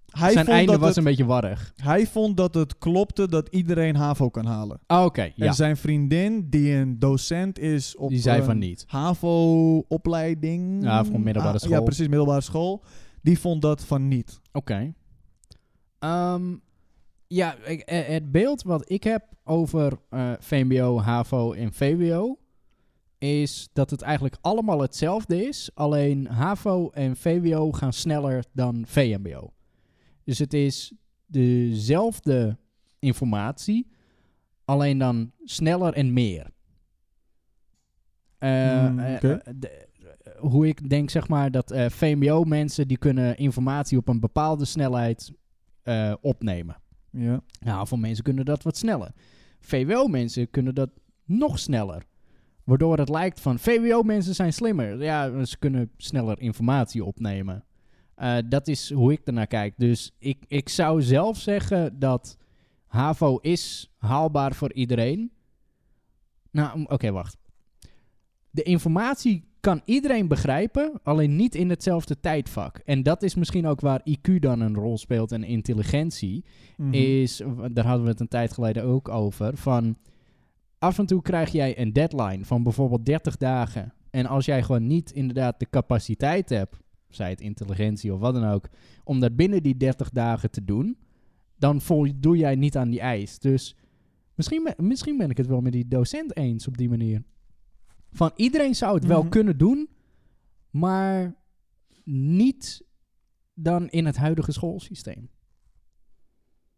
Speaker 1: Hij
Speaker 2: zijn
Speaker 1: vond,
Speaker 2: einde
Speaker 1: dat
Speaker 2: was
Speaker 1: het,
Speaker 2: een beetje warrig.
Speaker 1: hij vond dat het klopte dat iedereen HAVO kan halen.
Speaker 2: Ah, oké,
Speaker 1: En
Speaker 2: ja.
Speaker 1: zijn vriendin, die een docent is op eh,
Speaker 2: Die zei
Speaker 1: een
Speaker 2: van niet.
Speaker 1: HAVO-opleiding.
Speaker 2: Ja, van middelbare
Speaker 1: Ah, Ja,
Speaker 2: school.
Speaker 1: precies, middelbare school. Die vond dat van niet.
Speaker 2: Oké. Ehm, ja, ik- eh, het beeld wat ik heb over eh, VMBO, HAVO en VWO... is dat het eigenlijk allemaal hetzelfde is... alleen HAVO en VWO gaan sneller dan VMBO. Dus het is dezelfde informatie... alleen dan sneller en meer. Eh,
Speaker 1: Hmm,
Speaker 2: eh,
Speaker 1: oké.
Speaker 2: de- hoe ik denk, zeg maar, dat eh, VMBO-mensen... die kunnen informatie op een bepaalde snelheid eh, opnemen.
Speaker 1: Ja.
Speaker 2: Nou, voor mensen kunnen dat wat sneller. VWO-mensen kunnen dat nog sneller. Waardoor het lijkt van VWO-mensen zijn slimmer. Ja, ze kunnen sneller informatie opnemen. Eh, dat is hoe ik ernaar kijk. Dus ik, ik zou zelf zeggen dat HAVO is haalbaar voor iedereen. Nou, m- oké, wacht. De informatie kan iedereen begrijpen, alleen niet in hetzelfde tijdvak. En dat is misschien ook waar IQ dan een rol speelt en intelligentie
Speaker 1: Mhm.
Speaker 2: is, w- daar hadden we het een tijd geleden ook over, van af en toe krijg jij een deadline van bijvoorbeeld 30 dagen. En als jij gewoon niet inderdaad de capaciteit hebt, zij het intelligentie of wat dan ook, om dat binnen die 30 dagen te doen, dan voldoe jij niet aan die eis. Dus misschien, ben- misschien ben ik het wel met die docent eens op die manier. Van iedereen zou het wel
Speaker 1: Mhm.
Speaker 2: kunnen doen, maar niet dan in het huidige schoolsysteem.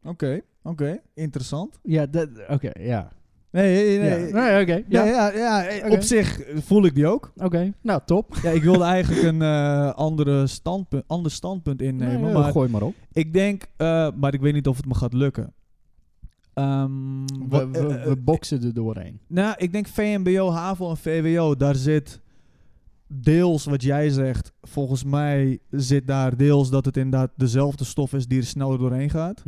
Speaker 1: Oké, oké. Interessant.
Speaker 2: Ja, dat, oké, ja.
Speaker 1: Nee, nee, nee.
Speaker 2: Ja. Nee, oké.
Speaker 1: Ja,
Speaker 2: Ja.
Speaker 1: ja, ja,
Speaker 2: Oké.
Speaker 1: op zich voel ik die ook.
Speaker 2: Oké, nou top.
Speaker 1: Ja, ik wilde eigenlijk een eh, andere standpunt, ander standpunt innemen.
Speaker 2: Nee, eh,
Speaker 1: maar
Speaker 2: gooi maar op.
Speaker 1: ik denk, eh, maar ik weet niet of het me gaat lukken. Ehm,
Speaker 2: We,
Speaker 1: wat-
Speaker 2: we,
Speaker 1: eh, eh,
Speaker 2: we boksen er doorheen.
Speaker 1: nou, ik denk VMBO, HAVO en VWO, daar zit deels wat jij zegt. Volgens mij zit daar deels dat het inderdaad dezelfde stof is die er sneller doorheen gaat.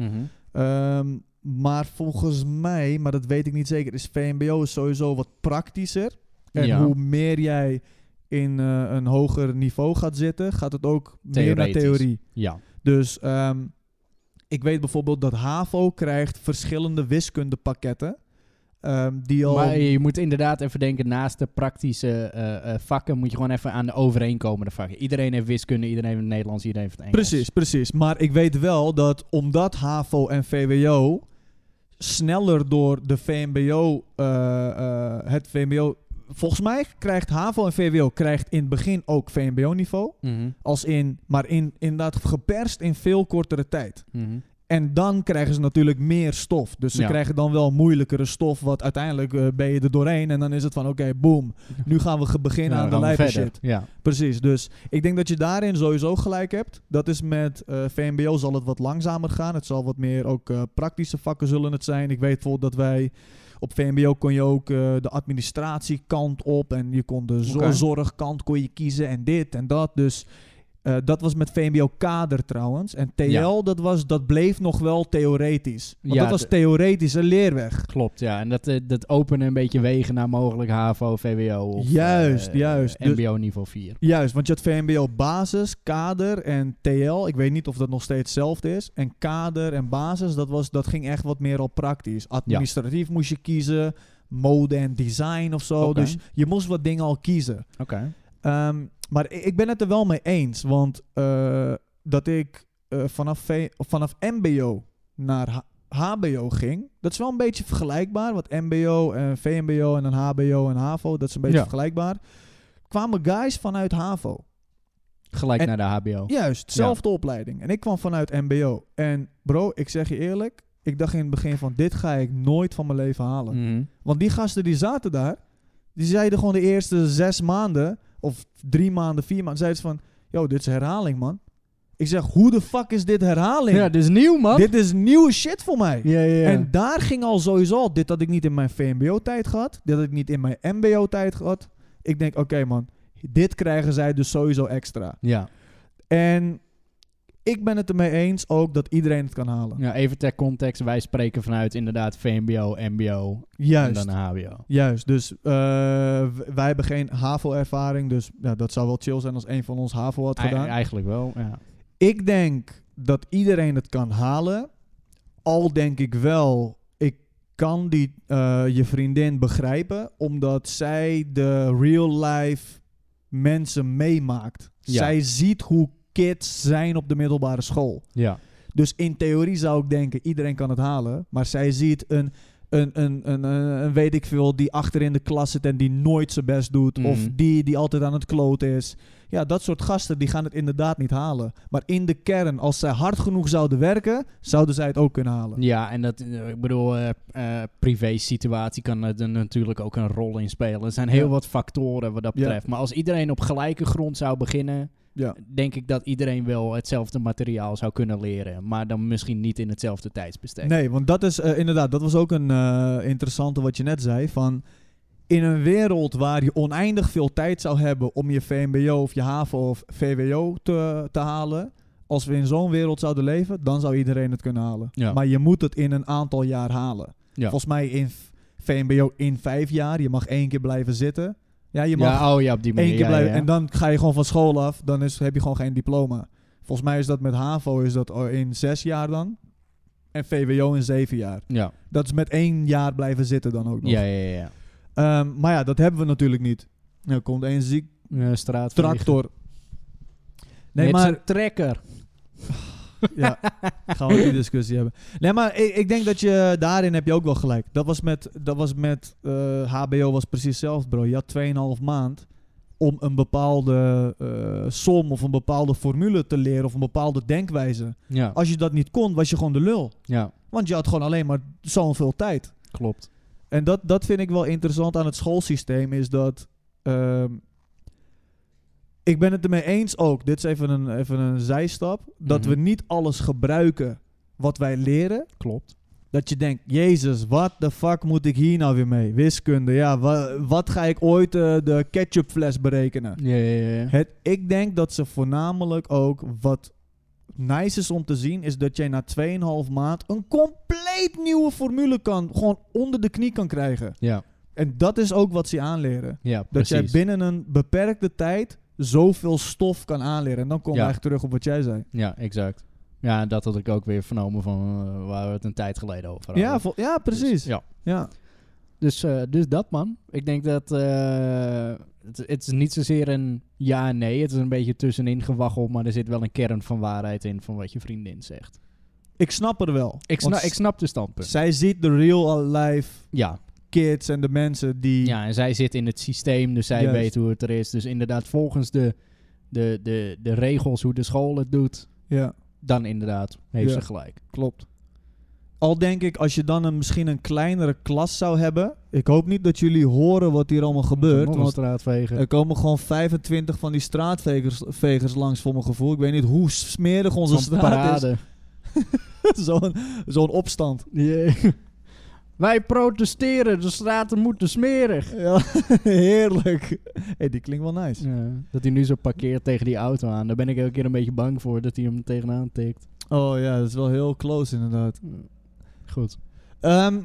Speaker 1: Ehm, maar volgens mij, maar dat weet ik niet zeker, is VMBO sowieso wat praktischer. En
Speaker 2: Ja.
Speaker 1: hoe meer jij in eh, een hoger niveau gaat zitten, gaat het ook meer naar
Speaker 2: Theoretisch.
Speaker 1: theorie.
Speaker 2: Ja.
Speaker 1: Dus ehm, ik weet bijvoorbeeld dat HAVO krijgt verschillende wiskundepakketten. ehm, die al...
Speaker 2: Maar je moet inderdaad even denken, naast de praktische eh, eh, vakken moet je gewoon even aan de overeenkomende vakken. Iedereen heeft wiskunde, iedereen heeft Nederlands, iedereen heeft Engels.
Speaker 1: Precies, precies. Maar ik weet wel dat omdat HAVO en VWO sneller door de VMBO, eh, eh, het VMBO... Volgens mij krijgt HAVO en VWO krijgt in het begin ook VMBO-niveau.
Speaker 2: Mhm,
Speaker 1: Als in, maar in, inderdaad geperst in veel kortere tijd.
Speaker 2: mhm.
Speaker 1: En dan krijgen ze natuurlijk meer stof. Dus ze
Speaker 2: Ja.
Speaker 1: krijgen dan wel moeilijkere stof. Wat uiteindelijk eh, ben je er doorheen. En dan is het van oké, boom. Nu gaan we ge- beginnen
Speaker 2: Ja,
Speaker 1: aan de
Speaker 2: Nou, dan gaan we
Speaker 1: lijpe
Speaker 2: verder.
Speaker 1: shit.
Speaker 2: Ja.
Speaker 1: Precies. Dus ik denk dat je daarin sowieso gelijk hebt. Dat is met eh, VMBO zal het wat langzamer gaan. Het zal wat meer ook eh, praktische vakken zullen het zijn. Ik weet bijvoorbeeld dat wij op VMBO kon je ook eh, de administratiekant op. En je kon de zo-
Speaker 2: Oké.
Speaker 1: zorgkant kon je kiezen en dit en dat. Dus eh, dat was met VMBO kader trouwens. En TL,
Speaker 2: Ja.
Speaker 1: dat, was, dat bleef nog wel theoretisch. Want
Speaker 2: Ja,
Speaker 1: dat was
Speaker 2: de-
Speaker 1: theoretische leerweg.
Speaker 2: Klopt, ja. En dat, eh, dat openen een beetje wegen naar mogelijk HAVO, VWO of
Speaker 1: Juist,
Speaker 2: eh,
Speaker 1: juist. Dus-
Speaker 2: MBO niveau 4.
Speaker 1: Juist, want je had VMBO basis, kader en TL. Ik weet niet of dat nog steeds hetzelfde is. En kader en basis, dat, was, dat ging echt wat meer al praktisch. Administratief moest je kiezen, mode en design of zo.
Speaker 2: Oké.
Speaker 1: Dus je moest wat dingen al kiezen.
Speaker 2: Oké.
Speaker 1: Ehm, maar i- ik ben het er wel mee eens, want eh, dat ik eh, vanaf, v- of vanaf MBO naar H- HBO ging, dat is wel een beetje vergelijkbaar. Want MBO en VMBO en dan HBO en HAVO, dat is een beetje
Speaker 2: Ja.
Speaker 1: vergelijkbaar. Kwamen guys vanuit HAVO.
Speaker 2: Gelijk
Speaker 1: En-
Speaker 2: naar de HBO.
Speaker 1: Juist, zelfde opleiding. En ik kwam vanuit MBO. En bro, ik zeg je eerlijk, ik dacht in het begin van dit ga ik nooit van mijn leven halen.
Speaker 2: Mhm.
Speaker 1: Want die gasten die zaten daar, die zeiden gewoon de eerste zes maanden, of drie maanden, vier maanden, zeiden ze van, yo, dit is herhaling man. Ik zeg, hoe de fuck is dit herhaling?
Speaker 2: Ja, dit is nieuw, man.
Speaker 1: dit is nieuwe shit voor mij.
Speaker 2: ja, ja, ja.
Speaker 1: En daar ging al sowieso al, dit had ik niet in mijn VMBO-tijd gehad, dit had ik niet in mijn MBO-tijd gehad. Ik denk, oké man, dit krijgen zij dus sowieso extra.
Speaker 2: ja.
Speaker 1: En ik ben het ermee eens ook dat iedereen het kan halen.
Speaker 2: ja, even ter context. Wij spreken vanuit inderdaad VMBO, MBO en
Speaker 1: Juist.
Speaker 2: dan HBO.
Speaker 1: Juist, dus eh, w- wij hebben geen HAVO-ervaring, dus ja, dat zou wel chill zijn als een van ons HAVO had
Speaker 2: Ei-
Speaker 1: gedaan.
Speaker 2: eigenlijk wel, ja.
Speaker 1: Ik denk dat iedereen het kan halen, al denk ik wel, ik kan die, eh, je vriendin begrijpen, omdat zij de real-life mensen meemaakt.
Speaker 2: Ja.
Speaker 1: Zij ziet hoe kids zijn op de middelbare school.
Speaker 2: Ja,
Speaker 1: Dus in theorie zou ik denken, iedereen kan het halen. Maar zij ziet een, een, een, een, een, een weet ik veel, die achter in de klas zit en die nooit zijn best doet.
Speaker 2: Mhm.
Speaker 1: Of die die altijd aan het kloten is. Ja, dat soort gasten, die gaan het inderdaad niet halen. Maar in de kern, als zij hard genoeg zouden werken, zouden zij het ook kunnen halen.
Speaker 2: ja en dat, eh, ik bedoel, eh eh, privé-situatie kan er dan natuurlijk ook een rol in spelen. Er zijn heel
Speaker 1: Ja.
Speaker 2: wat factoren wat dat
Speaker 1: Ja.
Speaker 2: betreft. Maar als iedereen op gelijke grond zou beginnen,
Speaker 1: Ja.
Speaker 2: denk ik dat iedereen wel hetzelfde materiaal zou kunnen leren. Maar dan misschien niet in hetzelfde tijdsbestek.
Speaker 1: Nee, want dat is eh, inderdaad, dat was ook een eh, interessante wat je net zei. Van in een wereld waar je oneindig veel tijd zou hebben om je VMBO of je HAVO of VWO te, te halen. Als we in zo'n wereld zouden leven, dan zou iedereen het kunnen halen.
Speaker 2: Ja.
Speaker 1: Maar je moet het in een aantal jaar halen.
Speaker 2: Ja.
Speaker 1: Volgens mij in v- VMBO in vijf jaar. Je mag één keer blijven zitten. Ja, je mag
Speaker 2: ja, oh ja, op die manier.
Speaker 1: één keer
Speaker 2: ja,
Speaker 1: blijven.
Speaker 2: ja.
Speaker 1: En dan ga je gewoon van school af. Dan is, heb je gewoon geen diploma. Volgens mij is dat met HAVO is dat eh, in zes jaar dan. En VWO in zeven jaar.
Speaker 2: ja.
Speaker 1: Dat is met één jaar blijven zitten dan ook nog.
Speaker 2: Ja, ja, ja.
Speaker 1: Ehm, maar ja, dat hebben we natuurlijk niet. Er komt één ziek
Speaker 2: ja. straat.
Speaker 1: tractor. Nee,
Speaker 2: Nee,
Speaker 1: maar...
Speaker 2: maar... Trekker.
Speaker 1: Ja, gaan we die discussie hebben. Nee, maar ik, ik denk dat je... Daarin heb je ook wel gelijk. Dat was met... Dat was met eh, HBO was precies hetzelfde, bro. Je had 2,5 maand om een bepaalde eh, som of een bepaalde formule te leren... of een bepaalde denkwijze.
Speaker 2: Ja,
Speaker 1: Als je dat niet kon, was je gewoon de lul.
Speaker 2: ja,
Speaker 1: Want je had gewoon alleen maar zoveel tijd.
Speaker 2: klopt.
Speaker 1: En dat, dat vind ik wel interessant aan het schoolsysteem, is dat. ehm, ik ben het ermee eens ook, dit is even een, even een zijstap, dat
Speaker 2: Mhm.
Speaker 1: we niet alles gebruiken wat wij leren.
Speaker 2: Klopt.
Speaker 1: Dat je denkt, Jezus, wat de fuck moet ik hier nou weer mee? Wiskunde, ja, wa- wat ga ik ooit eh, de ketchupfles berekenen?
Speaker 2: Ja, ja, ja.
Speaker 1: Het, ik denk dat ze voornamelijk ook wat nice is om te zien, is dat jij na 2,5 maand een compleet nieuwe formule kan, gewoon onder de knie kan krijgen.
Speaker 2: Ja,
Speaker 1: En dat is ook wat ze je aanleren.
Speaker 2: Ja,
Speaker 1: Dat
Speaker 2: precies.
Speaker 1: jij binnen een beperkte tijd zoveel stof kan aanleren. En dan komen
Speaker 2: Ja.
Speaker 1: we eigenlijk terug op wat jij zei.
Speaker 2: Ja, exact. Ja, dat had ik ook weer vernomen van eh, waar we het een tijd geleden over hadden.
Speaker 1: Ja, vol- ja, precies.
Speaker 2: Dus,
Speaker 1: ja.
Speaker 2: ja. Dus, eh, dus dat, man. Ik denk dat... eh, het, het is niet zozeer een ja en nee. Het is een beetje tussenin gewaggeld. Maar er zit wel een kern van waarheid in van wat je vriendin zegt.
Speaker 1: Ik snap het wel.
Speaker 2: Ik,
Speaker 1: Want
Speaker 2: sna ik snap de standpunt.
Speaker 1: Zij ziet de real life
Speaker 2: Ja.
Speaker 1: kids en de mensen die...
Speaker 2: ja, en zij zit in het systeem. Dus zij
Speaker 1: Juist.
Speaker 2: weet hoe het er is. Dus inderdaad, volgens de, de, de, de regels hoe de school het doet...
Speaker 1: Ja,
Speaker 2: dan inderdaad heeft
Speaker 1: Ja.
Speaker 2: ze gelijk.
Speaker 1: klopt. Al denk ik, als je dan een, misschien een kleinere klas zou hebben... Ik hoop niet dat jullie horen wat hier allemaal gebeurt.
Speaker 2: Nog een
Speaker 1: want
Speaker 2: straatvegen.
Speaker 1: Er komen gewoon 25 van die straatvegers vegers langs voor mijn gevoel. Ik weet niet hoe smerig onze
Speaker 2: Zo'n
Speaker 1: straat is. Zo'n zo'n opstand.
Speaker 2: Jee. Wij protesteren, de straten moeten smerig.
Speaker 1: Ja, heerlijk. Hey, die klinkt wel nice.
Speaker 2: dat hij nu zo parkeert tegen die auto aan. Daar ben ik elke keer een beetje bang voor dat hij hem tegenaan tikt.
Speaker 1: Oh ja, dat is wel heel close inderdaad.
Speaker 2: Goed.
Speaker 1: Ehm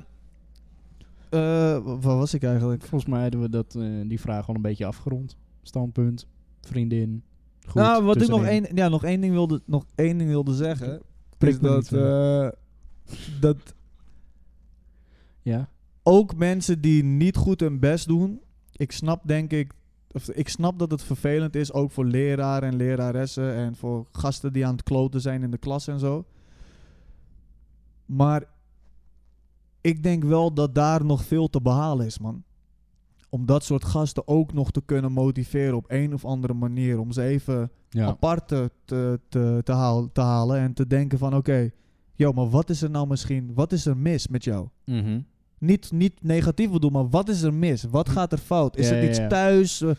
Speaker 1: eh, wa- waar was ik eigenlijk?
Speaker 2: Volgens mij hebben we dat, eh, die vraag al een beetje afgerond. Standpunt, vriendin. Goed.
Speaker 1: nou, wat ik nog
Speaker 2: tussenin.
Speaker 1: één, ja, nog één ding wilde, nog één ding wilde zeggen.
Speaker 2: Prik
Speaker 1: Is
Speaker 2: me
Speaker 1: dat,
Speaker 2: niet, hoor.
Speaker 1: eh, dat
Speaker 2: Ja.
Speaker 1: ook mensen die niet goed hun best doen. Ik snap denk ik. Of ik snap dat het vervelend is, ook voor leraren en leraressen en voor gasten die aan het kloten zijn in de klas en zo. Maar ik denk wel dat daar nog veel te behalen is, man. Om dat soort gasten ook nog te kunnen motiveren op een of andere manier. Om ze even
Speaker 2: ja.
Speaker 1: apart te, te, te, te haal- te halen en te denken van oké, joh, maar wat is er nou misschien, wat is er mis met jou?
Speaker 2: Mhm.
Speaker 1: niet, niet negatief wil doen, maar wat is er mis? Wat gaat er fout? Is
Speaker 2: Ja,
Speaker 1: het
Speaker 2: ja,
Speaker 1: iets
Speaker 2: ja.
Speaker 1: thuis? Eh,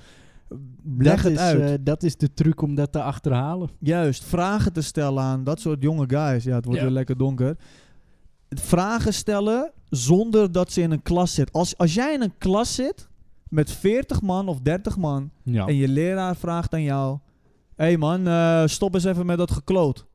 Speaker 1: Leg
Speaker 2: dat
Speaker 1: het
Speaker 2: is,
Speaker 1: uit.
Speaker 2: eh, dat is de truc om dat te achterhalen.
Speaker 1: Juist, vragen te stellen aan dat soort jonge guys. Ja, het wordt
Speaker 2: Ja.
Speaker 1: weer lekker donker. Vragen stellen zonder dat ze in een klas zit. Als, als jij in een klas zit met 40 man of 30 man
Speaker 2: Ja.
Speaker 1: en je leraar vraagt aan jou: Hé hey man, eh, stop eens even met dat gekloot.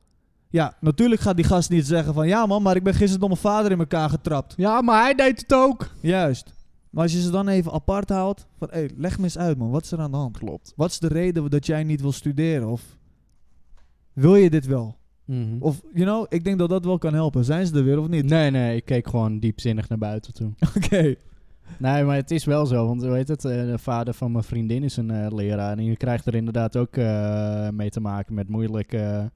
Speaker 1: Ja, natuurlijk gaat die gast niet zeggen van ja man, maar ik ben gisteren door mijn vader in elkaar getrapt.
Speaker 2: ja, maar hij deed het ook.
Speaker 1: Juist. Maar als je ze dan even apart houdt, van hé, leg me eens uit man, wat is er aan de hand?
Speaker 2: Klopt.
Speaker 1: Wat is de reden dat jij niet wil studeren? Of wil je dit wel? Of, you know, ik denk dat dat wel kan helpen. Zijn ze er weer of niet?
Speaker 2: Mhm. Nee, nee, ik keek gewoon diepzinnig naar buiten toe.
Speaker 1: Oké.
Speaker 2: Nee, maar het is wel zo. Want hoe heet het? eh, De vader van mijn vriendin is een eh, leraar. En je krijgt er inderdaad ook eh, mee te maken met moeilijke.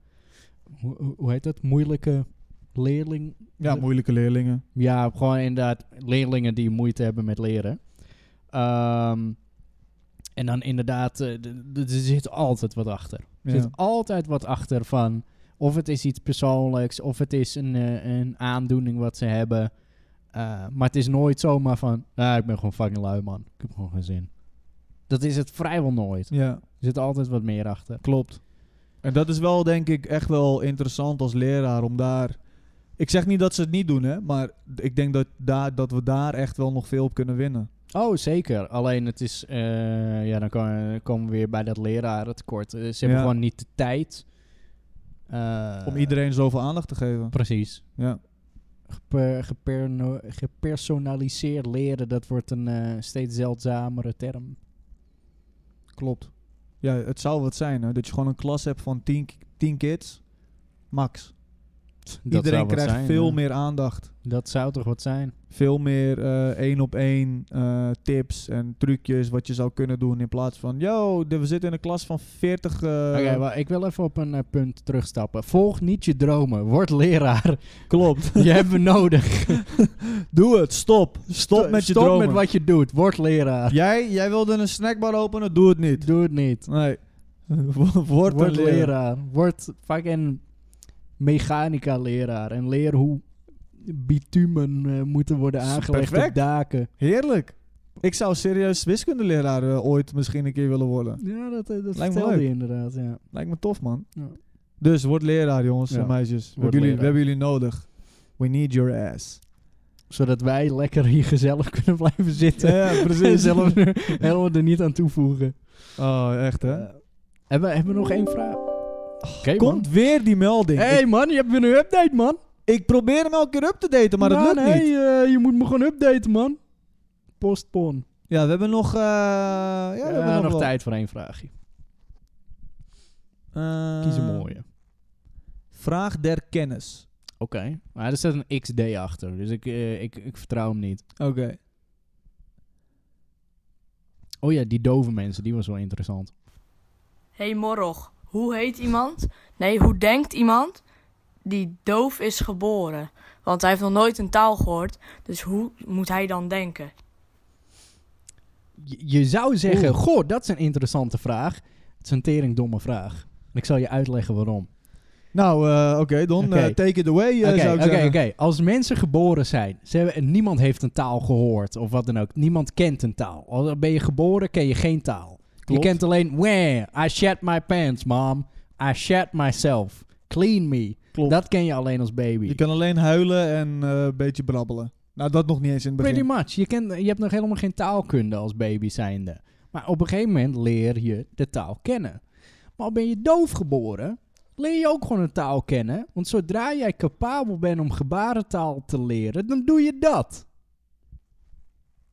Speaker 2: hoe- hoe- hoe heet dat? Moeilijke leerling.
Speaker 1: Ja, moeilijke leerlingen.
Speaker 2: Ja, gewoon inderdaad leerlingen die moeite hebben met leren. Ehm, en dan inderdaad, eh, d- d- er zit altijd wat achter. Er
Speaker 1: Ja.
Speaker 2: zit altijd wat achter van of het is iets persoonlijks, of het is een, eh, een aandoening wat ze hebben. Eh, maar het is nooit zomaar van, ah, ik ben gewoon fucking lui man, ik heb gewoon geen zin. Dat is het vrijwel nooit. Er
Speaker 1: ja,
Speaker 2: zit altijd wat meer achter.
Speaker 1: klopt. En dat is wel, denk ik, echt wel interessant als leraar om daar... Ik zeg niet dat ze het niet doen, hè. Maar ik denk dat, daar, dat we daar echt wel nog veel op kunnen winnen.
Speaker 2: Oh, zeker. Alleen het is, eh, ja, dan ko- komen we weer bij dat lerarentekort. Eh, ze hebben
Speaker 1: Ja.
Speaker 2: gewoon niet de tijd. eh,
Speaker 1: Om iedereen zoveel aandacht te geven.
Speaker 2: Precies.
Speaker 1: Ja.
Speaker 2: Geper- geperno- gepersonaliseerd leren, dat wordt een eh, steeds zeldzamere term.
Speaker 1: Klopt. Ja, het zou wat zijn, hè? Dat je gewoon een klas hebt van 10 kids, max. Iedereen krijgt veel meer aandacht.
Speaker 2: Dat zou toch wat zijn?
Speaker 1: Veel meer eh, één op één eh, tips en trucjes wat je zou kunnen doen. In plaats van, yo, de- we zitten in een klas van 40. eh,
Speaker 2: Oké, maar ik wil even op een eh, punt terugstappen. Volg niet je dromen. Word leraar.
Speaker 1: Klopt.
Speaker 2: je hebt me nodig.
Speaker 1: Doe het, stop. Stop met je
Speaker 2: Stop
Speaker 1: dromen.
Speaker 2: met wat je doet. Word leraar.
Speaker 1: jij, jij wilde een snackbar openen, doe het niet.
Speaker 2: Doe het niet.
Speaker 1: Nee. Word, Word
Speaker 2: Word
Speaker 1: een
Speaker 2: leraar.
Speaker 1: leraar.
Speaker 2: Word fucking mechanica leraar. En leer hoe bitumen eh, moeten worden
Speaker 1: Is
Speaker 2: aangelegd op
Speaker 1: perfect.
Speaker 2: daken.
Speaker 1: Heerlijk. Ik zou serieus wiskundeleraar eh, ooit misschien een keer willen worden.
Speaker 2: Ja, dat, eh, dat
Speaker 1: Lijkt me
Speaker 2: vertelde
Speaker 1: leuk.
Speaker 2: je inderdaad. Ja.
Speaker 1: Lijkt me tof, man.
Speaker 2: Ja.
Speaker 1: Dus word leraar, jongens
Speaker 2: Ja,
Speaker 1: en meisjes. We
Speaker 2: word
Speaker 1: hebben, jullie,
Speaker 2: leraar.
Speaker 1: we hebben jullie nodig. We need your ass.
Speaker 2: Zodat wij lekker hier gezellig kunnen blijven zitten.
Speaker 1: Ja,
Speaker 2: En
Speaker 1: precies.
Speaker 2: zelf helemaal er niet aan toevoegen.
Speaker 1: Oh, echt, hè?
Speaker 2: Eh, hebben, we- hebben we nog één vraag? Oké,
Speaker 1: Komt weer die melding.
Speaker 2: Hé hey
Speaker 1: Ik,
Speaker 2: man, je hebt weer een update man.
Speaker 1: ik probeer hem elke keer up te daten, maar
Speaker 2: Nou,
Speaker 1: dat lukt
Speaker 2: nee,
Speaker 1: niet.
Speaker 2: eh, je moet me gewoon updaten man. Postpon.
Speaker 1: Ja, we hebben nog... eh, ja, we
Speaker 2: Ja,
Speaker 1: hebben nog,
Speaker 2: nog
Speaker 1: wel.
Speaker 2: tijd voor één vraagje.
Speaker 1: Eh,
Speaker 2: Kies een mooie. Oké.
Speaker 1: Vraag der kennis.
Speaker 2: Maar er staat een XD achter, dus ik, eh, ik, ik vertrouw hem niet.
Speaker 1: Oké.
Speaker 2: Oh ja, die dove mensen, die was wel interessant.
Speaker 5: Hey Morrog, hoe heet iemand? Nee, hoe denkt iemand die doof is geboren? Want hij heeft nog nooit een taal gehoord, dus hoe moet hij dan denken?
Speaker 2: Je, je zou zeggen, goh, dat is een interessante vraag. Het is een tering domme vraag. En ik zal je uitleggen waarom.
Speaker 1: Nou, eh, oké, Don.
Speaker 2: Oké.
Speaker 1: eh, take it away, eh,
Speaker 2: Oké,
Speaker 1: zou ik
Speaker 2: oké,
Speaker 1: zeggen.
Speaker 2: oké. Als mensen geboren zijn, ze hebben, en niemand heeft een taal gehoord of wat dan ook. Niemand kent een taal. Al ben je geboren, ken je geen taal.
Speaker 1: Klopt.
Speaker 2: Je kent alleen, wah, I shed my pants, mom. I shed myself. Clean me.
Speaker 1: Klopt.
Speaker 2: Dat ken je alleen als baby.
Speaker 1: Je kan alleen huilen en eh, een beetje brabbelen. Nou, dat nog niet eens in het
Speaker 2: Pretty
Speaker 1: begin.
Speaker 2: much. Je, kent, je hebt nog helemaal geen taalkunde als baby zijnde. Maar op een gegeven moment leer je de taal kennen. Maar al ben je doof geboren, leer je ook gewoon een taal kennen. Want zodra jij capabel bent om gebarentaal te leren, dan doe je dat.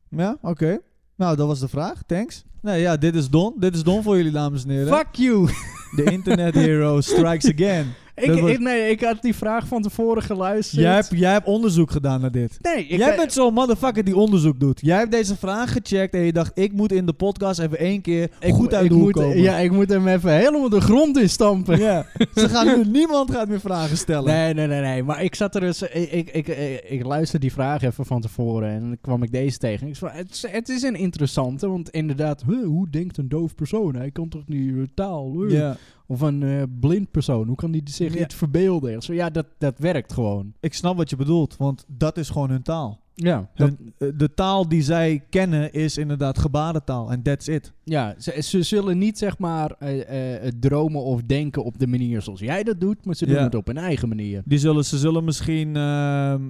Speaker 1: Ja, oké. Nou, dat was de vraag. Thanks. Nee, ja, dit is Don. Dit is Don voor jullie, dames en heren.
Speaker 2: Fuck you.
Speaker 1: De internet hero strikes again.
Speaker 2: ik,
Speaker 1: Dat was-
Speaker 2: ik- nee, ik had die vraag van tevoren geluisterd.
Speaker 1: Jij hebt, jij hebt onderzoek gedaan naar dit.
Speaker 2: nee, ik,
Speaker 1: jij bent zo'n motherfucker die onderzoek doet. Jij hebt deze vraag gecheckt en je dacht, ik moet in de podcast even één keer
Speaker 2: ik-
Speaker 1: goed uit
Speaker 2: ik
Speaker 1: de hoek
Speaker 2: moet,
Speaker 1: komen.
Speaker 2: Ja, ik moet hem even helemaal de grond instampen.
Speaker 1: Ja. Ze gaan nu, niemand gaat meer vragen stellen.
Speaker 2: Nee, nee, nee, nee. Maar ik zat er dus. Ik, ik, ik, ik, ik luisterde die vraag even van tevoren. En dan kwam ik deze tegen. Ik zei, het, is- het is een interessante. Want inderdaad, huh, hoe denkt een doof persoon? Hij kan toch niet eh, taal? huh?
Speaker 1: Ja.
Speaker 2: Of een eh, blind persoon. Hoe kan die zich
Speaker 1: Ja.
Speaker 2: niet verbeelden? Ik zei, ja, dat, dat werkt gewoon.
Speaker 1: Ik snap wat je bedoelt, want dat is gewoon hun taal.
Speaker 2: Ja, dat,
Speaker 1: Hun, eh, de taal die zij kennen is inderdaad gebarentaal. En that's it.
Speaker 2: ja ze, ze zullen niet zeg maar eh, eh, dromen of denken op de manier zoals jij dat doet. Maar ze doen
Speaker 1: Ja.
Speaker 2: het op hun eigen manier.
Speaker 1: Die zullen, ze zullen misschien ehm,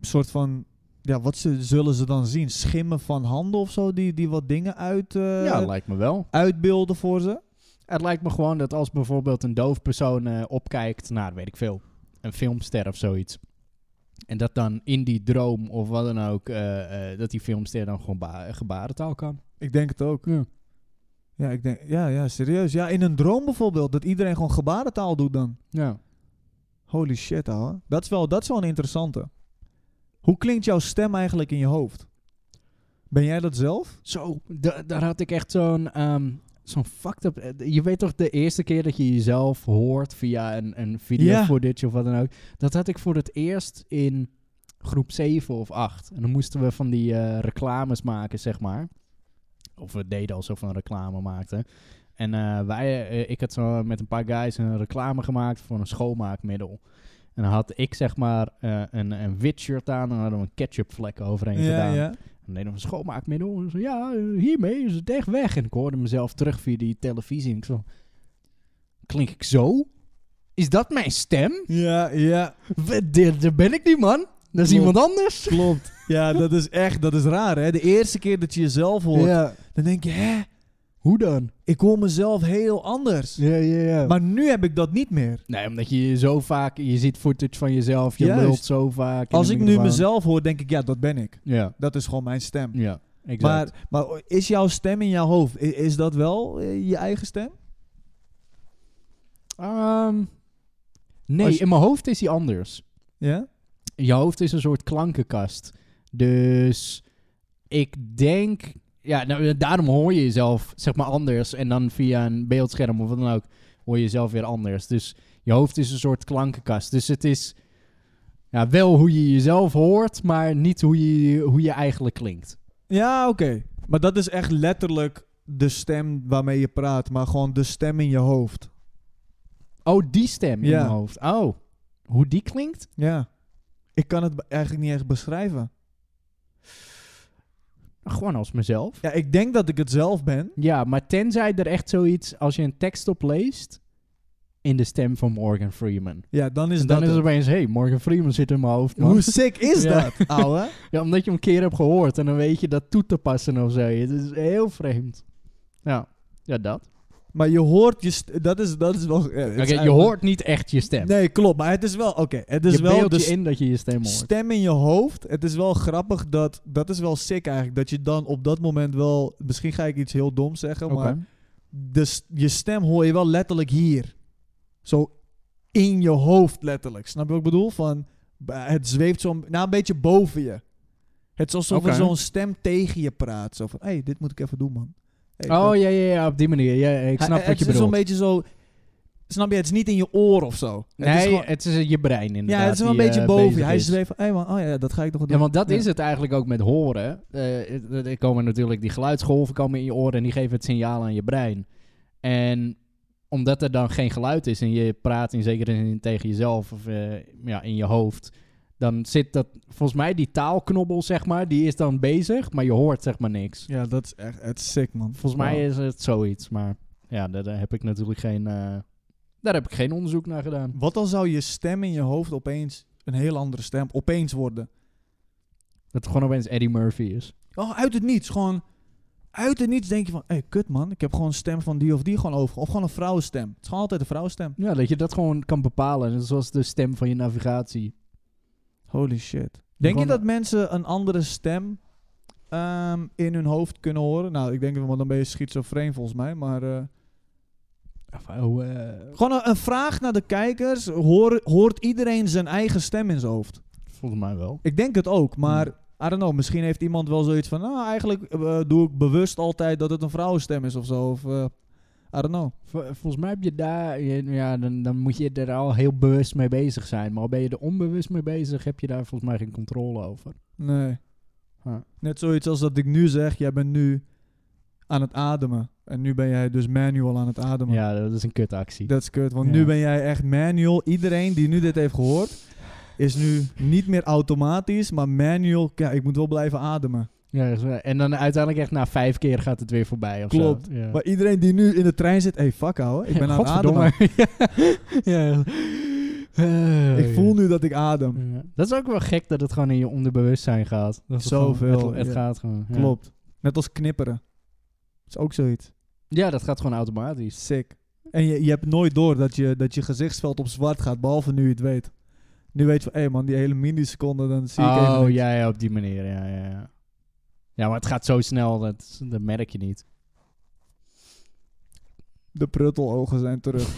Speaker 1: een soort van... Ja, wat ze, zullen ze dan zien? Schimmen van handen of zo? Die, die wat dingen uit, eh,
Speaker 2: ja, lijkt me wel.
Speaker 1: uitbeelden voor ze?
Speaker 2: Het lijkt me gewoon dat als bijvoorbeeld een doof persoon eh, opkijkt naar, weet ik veel, een filmster of zoiets. En dat dan in die droom of wat dan ook, eh, eh, dat die filmster dan gewoon ba- gebarentaal kan.
Speaker 1: Ik denk het ook.
Speaker 2: Ja.
Speaker 1: Ja, ik denk, ja, ja, serieus. Ja, in een droom bijvoorbeeld. Dat iedereen gewoon gebarentaal doet dan.
Speaker 2: Ja.
Speaker 1: Holy shit, ouwe. Dat is wel, dat is wel een interessante. Hoe klinkt jouw stem eigenlijk in je hoofd? Ben jij dat zelf?
Speaker 2: Zo, da- daar had ik echt zo'n ehm, zo'n fucked up... eh, Je weet toch de eerste keer dat je jezelf hoort via een, een video
Speaker 1: Ja.
Speaker 2: footage of wat dan ook. Dat had ik voor het eerst in groep 7 of 8. En dan moesten we van die eh, reclames maken, zeg maar. Of we deden alsof we een reclame maakten. En eh, wij, eh, ik had zo met een paar guys een reclame gemaakt voor een schoonmaakmiddel. En dan had ik zeg maar eh, een, een wit shirt aan en dan hadden we een ketchupvlek overheen gedaan. En dan een schoonmaakmiddel. En zo, ja, eh, hiermee is het echt weg. En ik hoorde mezelf terug via die televisie. En ik zo, klink ik zo? Is dat mijn stem?
Speaker 1: Ja, ja,
Speaker 2: Daar ben ik niet, man. Dat
Speaker 1: Klopt.
Speaker 2: is iemand anders.
Speaker 1: klopt. ja, dat is echt, dat is raar hè. De eerste keer dat je jezelf hoort,
Speaker 2: Ja.
Speaker 1: dan denk je, hè,
Speaker 2: Hoe dan?
Speaker 1: ik hoor mezelf heel anders.
Speaker 2: Ja, ja, ja.
Speaker 1: Maar nu heb ik dat niet meer.
Speaker 2: nee, omdat je zo vaak... Je ziet footage van jezelf. Je
Speaker 1: Juist.
Speaker 2: lult zo vaak. in
Speaker 1: Als
Speaker 2: de
Speaker 1: ik nu
Speaker 2: microfoon.
Speaker 1: mezelf hoor, denk ik, ja, dat ben ik.
Speaker 2: Ja,
Speaker 1: Dat is gewoon mijn stem.
Speaker 2: ja. Exact.
Speaker 1: Maar, maar is jouw stem in jouw hoofd, i- is dat wel eh, je eigen stem?
Speaker 2: Ehm, nee,
Speaker 1: Als je-
Speaker 2: in mijn hoofd is die anders.
Speaker 1: Ja?
Speaker 2: je hoofd is een soort klankenkast. Dus ik denk. Ja, nou, daarom hoor je jezelf zeg maar anders. En dan via een beeldscherm of wat dan ook hoor je jezelf weer anders. Dus je hoofd is een soort klankenkast. Dus het is ja, wel hoe je jezelf hoort, maar niet hoe je, hoe je eigenlijk klinkt.
Speaker 1: Ja, oké. Maar dat is echt letterlijk de stem waarmee je praat, maar gewoon de stem in je hoofd.
Speaker 2: Oh, die stem in
Speaker 1: Ja.
Speaker 2: mijn hoofd. Oh, hoe die klinkt?
Speaker 1: Ja. Ik kan het be- eigenlijk niet echt beschrijven.
Speaker 2: Gewoon als mezelf.
Speaker 1: Ja, ik denk dat ik het zelf ben.
Speaker 2: Ja, maar tenzij er echt zoiets, als je een tekst opleest, in de stem van Morgan Freeman.
Speaker 1: Ja, dan is
Speaker 2: En Dus dan
Speaker 1: dat
Speaker 2: is het
Speaker 1: het.
Speaker 2: opeens, hé, hey, Morgan Freeman zit in mijn hoofd, man.
Speaker 1: Hoe sick is
Speaker 2: Ja.
Speaker 1: dat, ouwe?
Speaker 2: Ja, omdat je hem een keer hebt gehoord en dan weet je dat toe te passen of zo. Het is heel vreemd. Ja, ja dat.
Speaker 1: Maar je hoort je... st- dat, is, dat is wel... ja, het is
Speaker 2: Oké, je
Speaker 1: eigenlijk-
Speaker 2: hoort niet echt je stem.
Speaker 1: Nee, klopt. Maar het is wel... Oké, het is
Speaker 2: je
Speaker 1: wel...
Speaker 2: beeldt
Speaker 1: de
Speaker 2: je in dat je je stem hoort.
Speaker 1: stem in je hoofd. Het is wel grappig dat... Dat is wel sick eigenlijk. Dat je dan op dat moment wel... Misschien ga ik iets heel doms zeggen,
Speaker 2: Oké. Oh,
Speaker 1: maar... De, s- je stem hoor je wel letterlijk hier. Zo in je hoofd letterlijk. Snap je wat ik bedoel? Van, b- het zweeft zo... Nou, een beetje boven je. Het is alsof er
Speaker 2: Oké.
Speaker 1: zo'n stem tegen je praat. Zo van, hé, hey, dit moet ik even doen, man. Hey, dat-
Speaker 2: Oh ja, ja, ja, op die manier. Ja, ik
Speaker 1: Hij-
Speaker 2: snap
Speaker 1: het
Speaker 2: wat
Speaker 1: is
Speaker 2: je
Speaker 1: zo'n
Speaker 2: bedoelt.
Speaker 1: beetje zo... Snap je? Het is niet in je oor of zo.
Speaker 2: nee,
Speaker 1: het is gewoon-
Speaker 2: je brein inderdaad.
Speaker 1: ja, het is wel een
Speaker 2: die,
Speaker 1: beetje
Speaker 2: eh,
Speaker 1: boven. je.
Speaker 2: bezig
Speaker 1: Hij
Speaker 2: is.
Speaker 1: zweeft van, hé man, oh ja, dat ga ik nog wel doen.
Speaker 2: Ja, want dat
Speaker 1: Ja.
Speaker 2: is het eigenlijk ook met horen. Eh, Er er komen natuurlijk die geluidsgolven komen in je oren en die geven het signaal aan je brein. En omdat er dan geen geluid is en je praat in zekere zin tegen jezelf of eh, ja, in je hoofd, dan zit dat volgens mij die taalknobbel zeg maar, die is dan bezig, maar je hoort zeg maar niks.
Speaker 1: Ja, dat is echt het is sick, man.
Speaker 2: Volgens mij
Speaker 1: Wow.
Speaker 2: is het zoiets, maar ja, daar, daar heb ik natuurlijk geen, eh, daar heb ik geen onderzoek naar gedaan.
Speaker 1: Wat dan zou je stem in je hoofd opeens een heel andere stem opeens worden?
Speaker 2: Dat het gewoon opeens Eddie Murphy is.
Speaker 1: Oh, uit het niets. Gewoon uit het niets denk je van... Hé, hey, kut man. Ik heb gewoon een stem van die of die gewoon over. Of gewoon een vrouwenstem. Het is gewoon altijd een vrouwenstem.
Speaker 2: Ja, dat je dat gewoon kan bepalen, zoals de stem van je navigatie.
Speaker 1: Holy shit. Denk je
Speaker 2: Gewoon-
Speaker 1: dat mensen een andere stem ehm, in hun hoofd kunnen horen? Nou, ik denk wel, want dan ben je schizofreen volgens mij. Maar eh,
Speaker 2: Of, oh, eh,
Speaker 1: gewoon een, een vraag naar de kijkers. Hoor, hoort iedereen zijn eigen stem in zijn hoofd?
Speaker 2: volgens mij wel.
Speaker 1: Ik denk het ook, maar I don't know. Misschien heeft iemand wel zoiets van... Nou, eigenlijk eh, doe ik bewust altijd dat het een vrouwenstem is of zo. Of, eh, I don't know.
Speaker 2: volgens mij heb je daar, je- ja, dan, dan moet je er al heel bewust mee bezig zijn. Maar al ben je er onbewust mee bezig, heb je daar volgens mij geen controle over.
Speaker 1: Nee.
Speaker 2: Huh.
Speaker 1: Net zoiets als dat ik nu zeg, jij bent nu aan het ademen. En nu ben jij dus manual aan het ademen.
Speaker 2: Ja, dat is een kutactie.
Speaker 1: Dat is kut, want
Speaker 2: Ja.
Speaker 1: nu ben jij echt manual. Iedereen die nu dit heeft gehoord, is nu niet meer automatisch, maar manual. Ja, ik moet wel blijven ademen.
Speaker 2: Ja, dat is waar. en dan uiteindelijk echt na vijf keer gaat het weer voorbij of zo.
Speaker 1: Klopt.
Speaker 2: Ja.
Speaker 1: Maar iedereen die nu in de trein zit, hey, fuck ouwe, ik ben aan het
Speaker 2: Godverdomme.
Speaker 1: ademen.
Speaker 2: ja. Eh,
Speaker 1: Ik voel nu dat ik adem.
Speaker 2: Ja. Dat is ook wel gek dat het gewoon in je onderbewustzijn gaat. Dat het gewoon-
Speaker 1: Zoveel,
Speaker 2: Het, het
Speaker 1: ja.
Speaker 2: gaat gewoon. ja.
Speaker 1: Klopt. Net als knipperen. is ook zoiets.
Speaker 2: Ja, dat gaat gewoon automatisch.
Speaker 1: Sick. En je, je hebt nooit door dat je, dat je gezichtsveld op zwart gaat, behalve nu je het weet. Nu weet je van, hé man, die hele milliseconde, dan zie ik even...
Speaker 2: oh,
Speaker 1: niks.
Speaker 2: ja, ja, op die manier, ja, ja, ja. Ja, maar het gaat zo snel, dat, dat merk je niet.
Speaker 1: De pruttelogen zijn terug.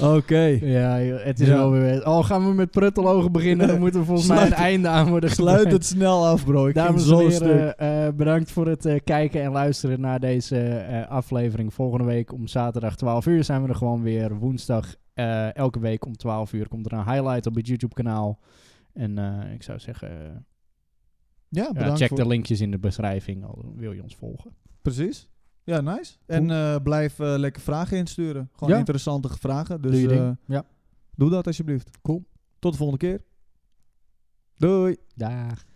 Speaker 1: Oké.
Speaker 2: Ja, joh, het is
Speaker 1: Ja.
Speaker 2: wel weer... Oh, gaan we met pruttelogen beginnen? Dan moeten er volgens mij
Speaker 1: Sluit-
Speaker 2: een einde aan worden
Speaker 1: Sluit
Speaker 2: gemaakt.
Speaker 1: het snel af, bro. Ik ging
Speaker 2: Dames
Speaker 1: zo
Speaker 2: en
Speaker 1: stuk.
Speaker 2: heren, eh, bedankt voor het eh, kijken en luisteren naar deze eh, aflevering. Volgende week om zaterdag 12 uur zijn we er gewoon weer. Woensdag eh, elke week om 12 uur komt er een highlight op het YouTube-kanaal. En eh, ik zou zeggen, eh,
Speaker 1: Ja,
Speaker 2: ja,
Speaker 1: bedankt
Speaker 2: check
Speaker 1: voor-
Speaker 2: de linkjes in de beschrijving al wil je ons volgen.
Speaker 1: Precies. Ja, nice. En eh, blijf eh, lekker vragen insturen. Gewoon
Speaker 2: Ja.
Speaker 1: interessante vragen. Dus
Speaker 2: Doe je ding.
Speaker 1: eh,
Speaker 2: Ja.
Speaker 1: doe dat alsjeblieft.
Speaker 2: Cool.
Speaker 1: Tot de volgende keer. Doei.
Speaker 2: Dag.